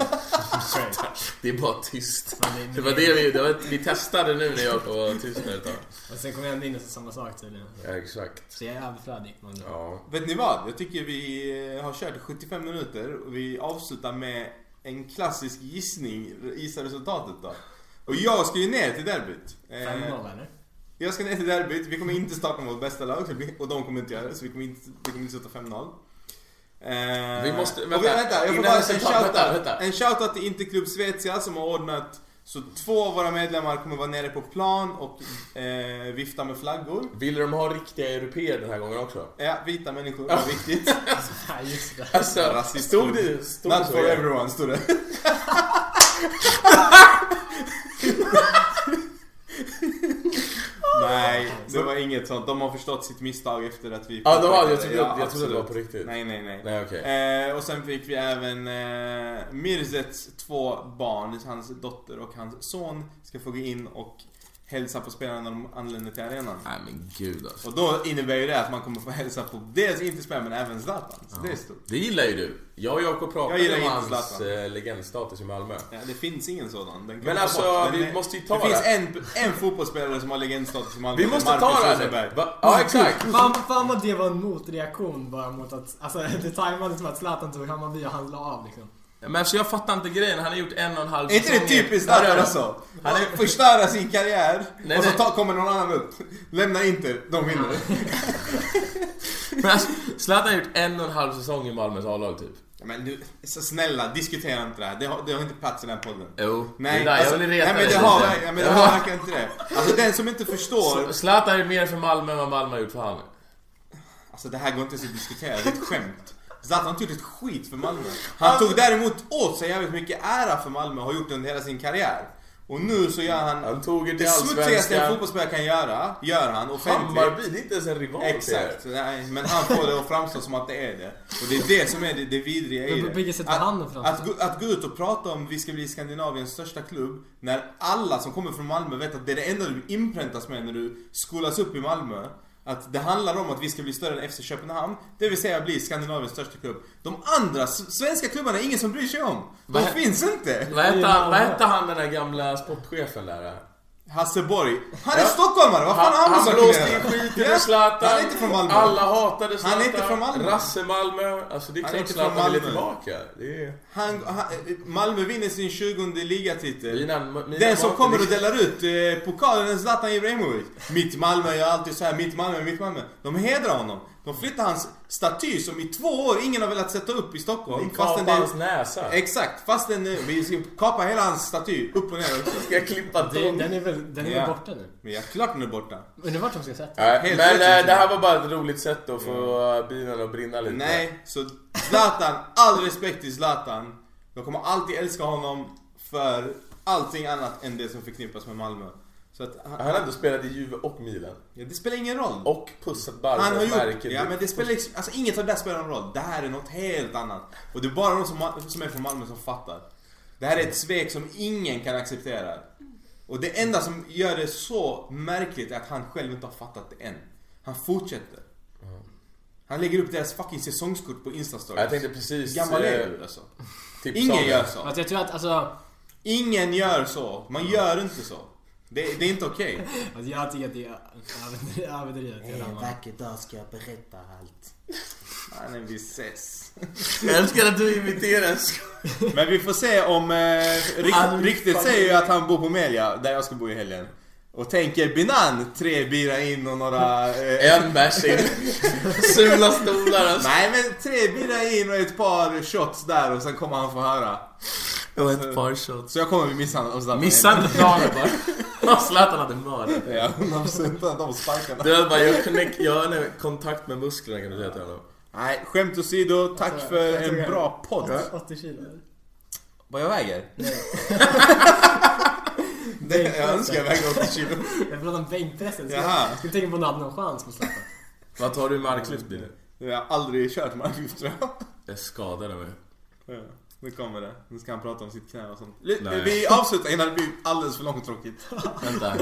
Exakt. det är bara tyst. Fan, det är- Det var det vi, det var, vi testade nu när jag var tyst när ett tag. Och sen kommer jag ändå in och så samma sak tydligen. Ja, exakt. Så jag är överflödig. Man ja. Ja. Vet ni vad? Jag tycker vi eh, har kört 75 minuter och vi avslutar med en klassisk gissning. Gissa resultatet då. Och jag ska ju ner till derbyt. Eh, 5-0 eller? Jag ska ner till derbyt. Vi kommer inte starta mot bästa lag så vi- och de kommer inte göra det så vi kommer inte, vi kommer inte sätta 5-0. Eh, Vi måste- och vänta. vänta jag får Innan bara en resultat- shoutout. vänta, vänta. En shoutout till Interklubb Svezia som har ordnat så två av våra medlemmar kommer vara nere på plan och eh, vifta med flaggor. Ville de ha riktiga europeer den här gången också? Ja, vita människor, det är viktigt. Ja, just det. Alltså, Rasism. stod det... Stod det Not så for igen? everyone stod det. nej, det var inget sånt. De har förstått sitt misstag efter att vi... Ja, de har, jag trodde, Ja, jag trodde det var absolut. på riktigt. Nej, nej, nej. Nej, okej. Eh, och sen fick vi även eh, Mirzets två barn, hans dotter och hans son, ska få gå in och hälsa på spelarna när de anländer till arenan. Nej men gud alltså. Och då innebär ju det att man kommer få hälsa på dels inte spelare men även Zlatan. Så det är stort. Det gillar ju du. Jag och Jakob Jag pratade gillar om inte hans Zlatan. eh, legendstatus i Malmö. Ja, det finns ingen sådan. Den kan vi Men ta alltså, bort. Den vi är- måste ju ta det. finns en, en fotbollsspelare som har legendstatus i Malmö. Vi måste Marcus ta det Rosenberg. här Va? Ja typ. exakt. Fan, fan vad det var en motreaktion bara mot att... Alltså det tajmade som att Zlatan tog Hammarby och han la av liksom. Men alltså jag fattar inte grejen. Han har gjort en och en halv Är inte det säsong i- typiskt Ja, Zlatan det- alltså? Han är- Förstöra sin karriär Nej, och så nej. ta, kommer någon annan upp. Lämna inte, de vinner. Men alltså, Zlatan har gjort en och en halv säsong i Malmös A-lag typ. Ja, men du, så snälla, diskutera inte det här. Det har, det har inte plats i den här podden. Jo. Nej, det är där, alltså, jag vill reta nej men det dig har, lite. ja, men det har verkligen inte det. Alltså den som inte förstår. Så Zlatan har gjort mer för Malmö än vad Malmö har gjort för han. Alltså det här går inte ens att diskutera, det är ett skämt. Zlatan har inte gjort ett skit för Malmö. Han tog däremot åt sig jävligt mycket ära för Malmö och har gjort det under hela sin karriär. Och nu så gör han Han tog er det till smutsigaste en Allsvenskan. fotbollsspelare kan göra, gör han offentligt. Hammarby, det är inte ens en rival till er. Exakt, nej, men han får det att framstå som att det är det. Och det är det som är det, det vidriga i Men på det. vilket sätt var Att- han framstå? Att, gå- att gå ut och prata om vi ska bli Skandinaviens största klubb när alla som kommer från Malmö vet att det är det enda du inpräntas med när du skolas upp i Malmö. Att det handlar om att vi ska bli större än FC Köpenhamn, det vill säga bli Skandinaviens största klubb. De andra s- svenska klubbarna är ingen som bryr sig om. De Vad- finns inte. Vad hette han, vad hette han den där gamla sportchefen där? Hasse Borg, han är stockholmare, vad fan har Han, han han med blåste saker in att göra? skiten Ja, ur Zlatan. Han är inte från Malmö. Alla hatade Zlatan. Han är inte från Malmö. Rasse Malmö. Alltså det är Han är klart inte från Zlatan vill Malmö. tillbaka. Det är... Han, han, Malmö vinner sin 20 ligatitel. Mina, mina Den som mater- kommer och delar ut eh, pokalen är Zlatan Ibrahimovic. Mitt Malmö gör alltid så här, mitt Malmö, mitt Malmö. De hedrar honom. De flyttar hans staty som i två år ingen har velat sätta upp i Stockholm. Ni Fastän kapar det, hans näsa. exakt, fastän eh, vi ska kapa hela hans staty upp och ner också. Ska jag klippa Det, till? den är väl den är Ja. väl borta nu? Men jag klart den är borta. Undrar vart de ska sätta den? Nej, Helt men rätt, eh, inte. det här var bara ett roligt sätt att få eh, bilen att brinna lite. Mm. Nej, så Zlatan, all respekt till Zlatan. Jag kommer alltid älska honom för allting annat än det som förknippas med Malmö. Så att, han, Han har ändå spelat i Juve och Milan. ja, det spelar ingen roll. Och pussat Barca Han har och gjort, Merkel. ja men det spelar liksom, alltså inget av det där spelar någon roll. Det här är något helt annat. Och det är bara de som, som är från Malmö som fattar. Det här är ett svek som ingen kan acceptera. Och det enda som gör det så märkligt är att han själv inte har fattat det än. Han fortsätter. Han lägger upp deras fucking säsongskort på Instastories. Jag tänkte precis... Gammal är eh, du alltså. tipsa om Ingen det. gör så. Alltså jag tror att, alltså, Ingen gör så. Man gör inte så. Det, det är inte okej. alltså jag tycker att det är överdri- överdrivet. En redan, va? vacker dag ska jag berätta allt. Okay. vi ses. Jag älskar att du imiterar en sk- Men vi får se om... Eh, Han- ryk, ryktet säger ju att han bor på Melia, där jag ska bo i helgen. Och tänker Binan, tre bira in och några... Eh, En bärs in. Sula stolar alltså. nej men tre bira in och ett par shots där och sen kommer han få höra. Och ett par shots. Så jag kommer bli misshandlad av Zlatan. Missa inte planen bara. Zlatan hade mördat. Ja, 100% att de sparkarna. Du hade bara, jag, connect, jag har kontakt med musklerna kan du säga till honom. Nej, skämt åsido. Tack Alltså, för jag tror en jag- bra podd. 80 kilo. Vad jag väger? Nej, Det, jag önskar jag vägde 80 kilo. jag pratade om bänkpressen. så jag- Jaha. Jag skulle tänka på om du hade någon chans mot Zlatan. Vad tar du i marklyft Billy? Jag har aldrig kört marklyft tror jag. Jag skadade mig. Ja, Nu kommer det. Nu ska han prata om sitt knä och sånt. Nej. Vi avslutar innan det blir alldeles för långtråkigt. Vänta.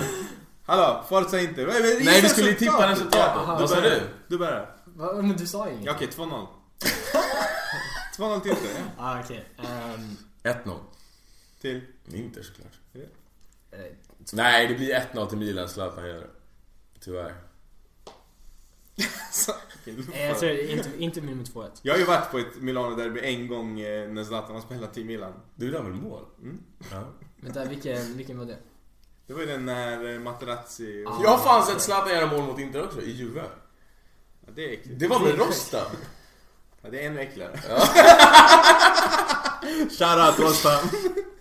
Hallå, Forza inte. Men, men, Nej, gissa vi skulle ju tippa resultatet. Ja, Vad sa börjar. du? Du börjar. Va? Men du sa ju inget. Ja, Okej, 2-0. 2-0 till Inter, ja. Ah, okej. Ehm, 1-0. Till. Inter såklart. eh, Nej, det blir 1-0 till Milan. Zlatan gör det. Tyvärr. Så- okej, nu får eh, jag tror inte, inte min med 2-1. Jag har ju varit på ett Milano-derby en gång eh, när Zlatan har spelat i Milan. Du gjorde väl mål? Mm. Ja. Vänta, vilken, vilken var det? Det var ju den när eh, Materazzi... Och... Ah. Jag har fan sett Zlatan göra mål mot Inter också, i Juve. Ja, det är äckligt. Det var väl Rosta? Ja, det är ännu äckligare. Shoutout Rosta!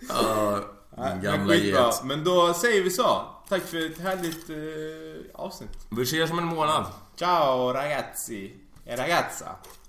Ja, Ja, din men gamla skitbra. get. Men då säger vi så. Tack för ett härligt eh, avsnitt. Vi ses om en månad. Ciao ragazzi. E ragazza.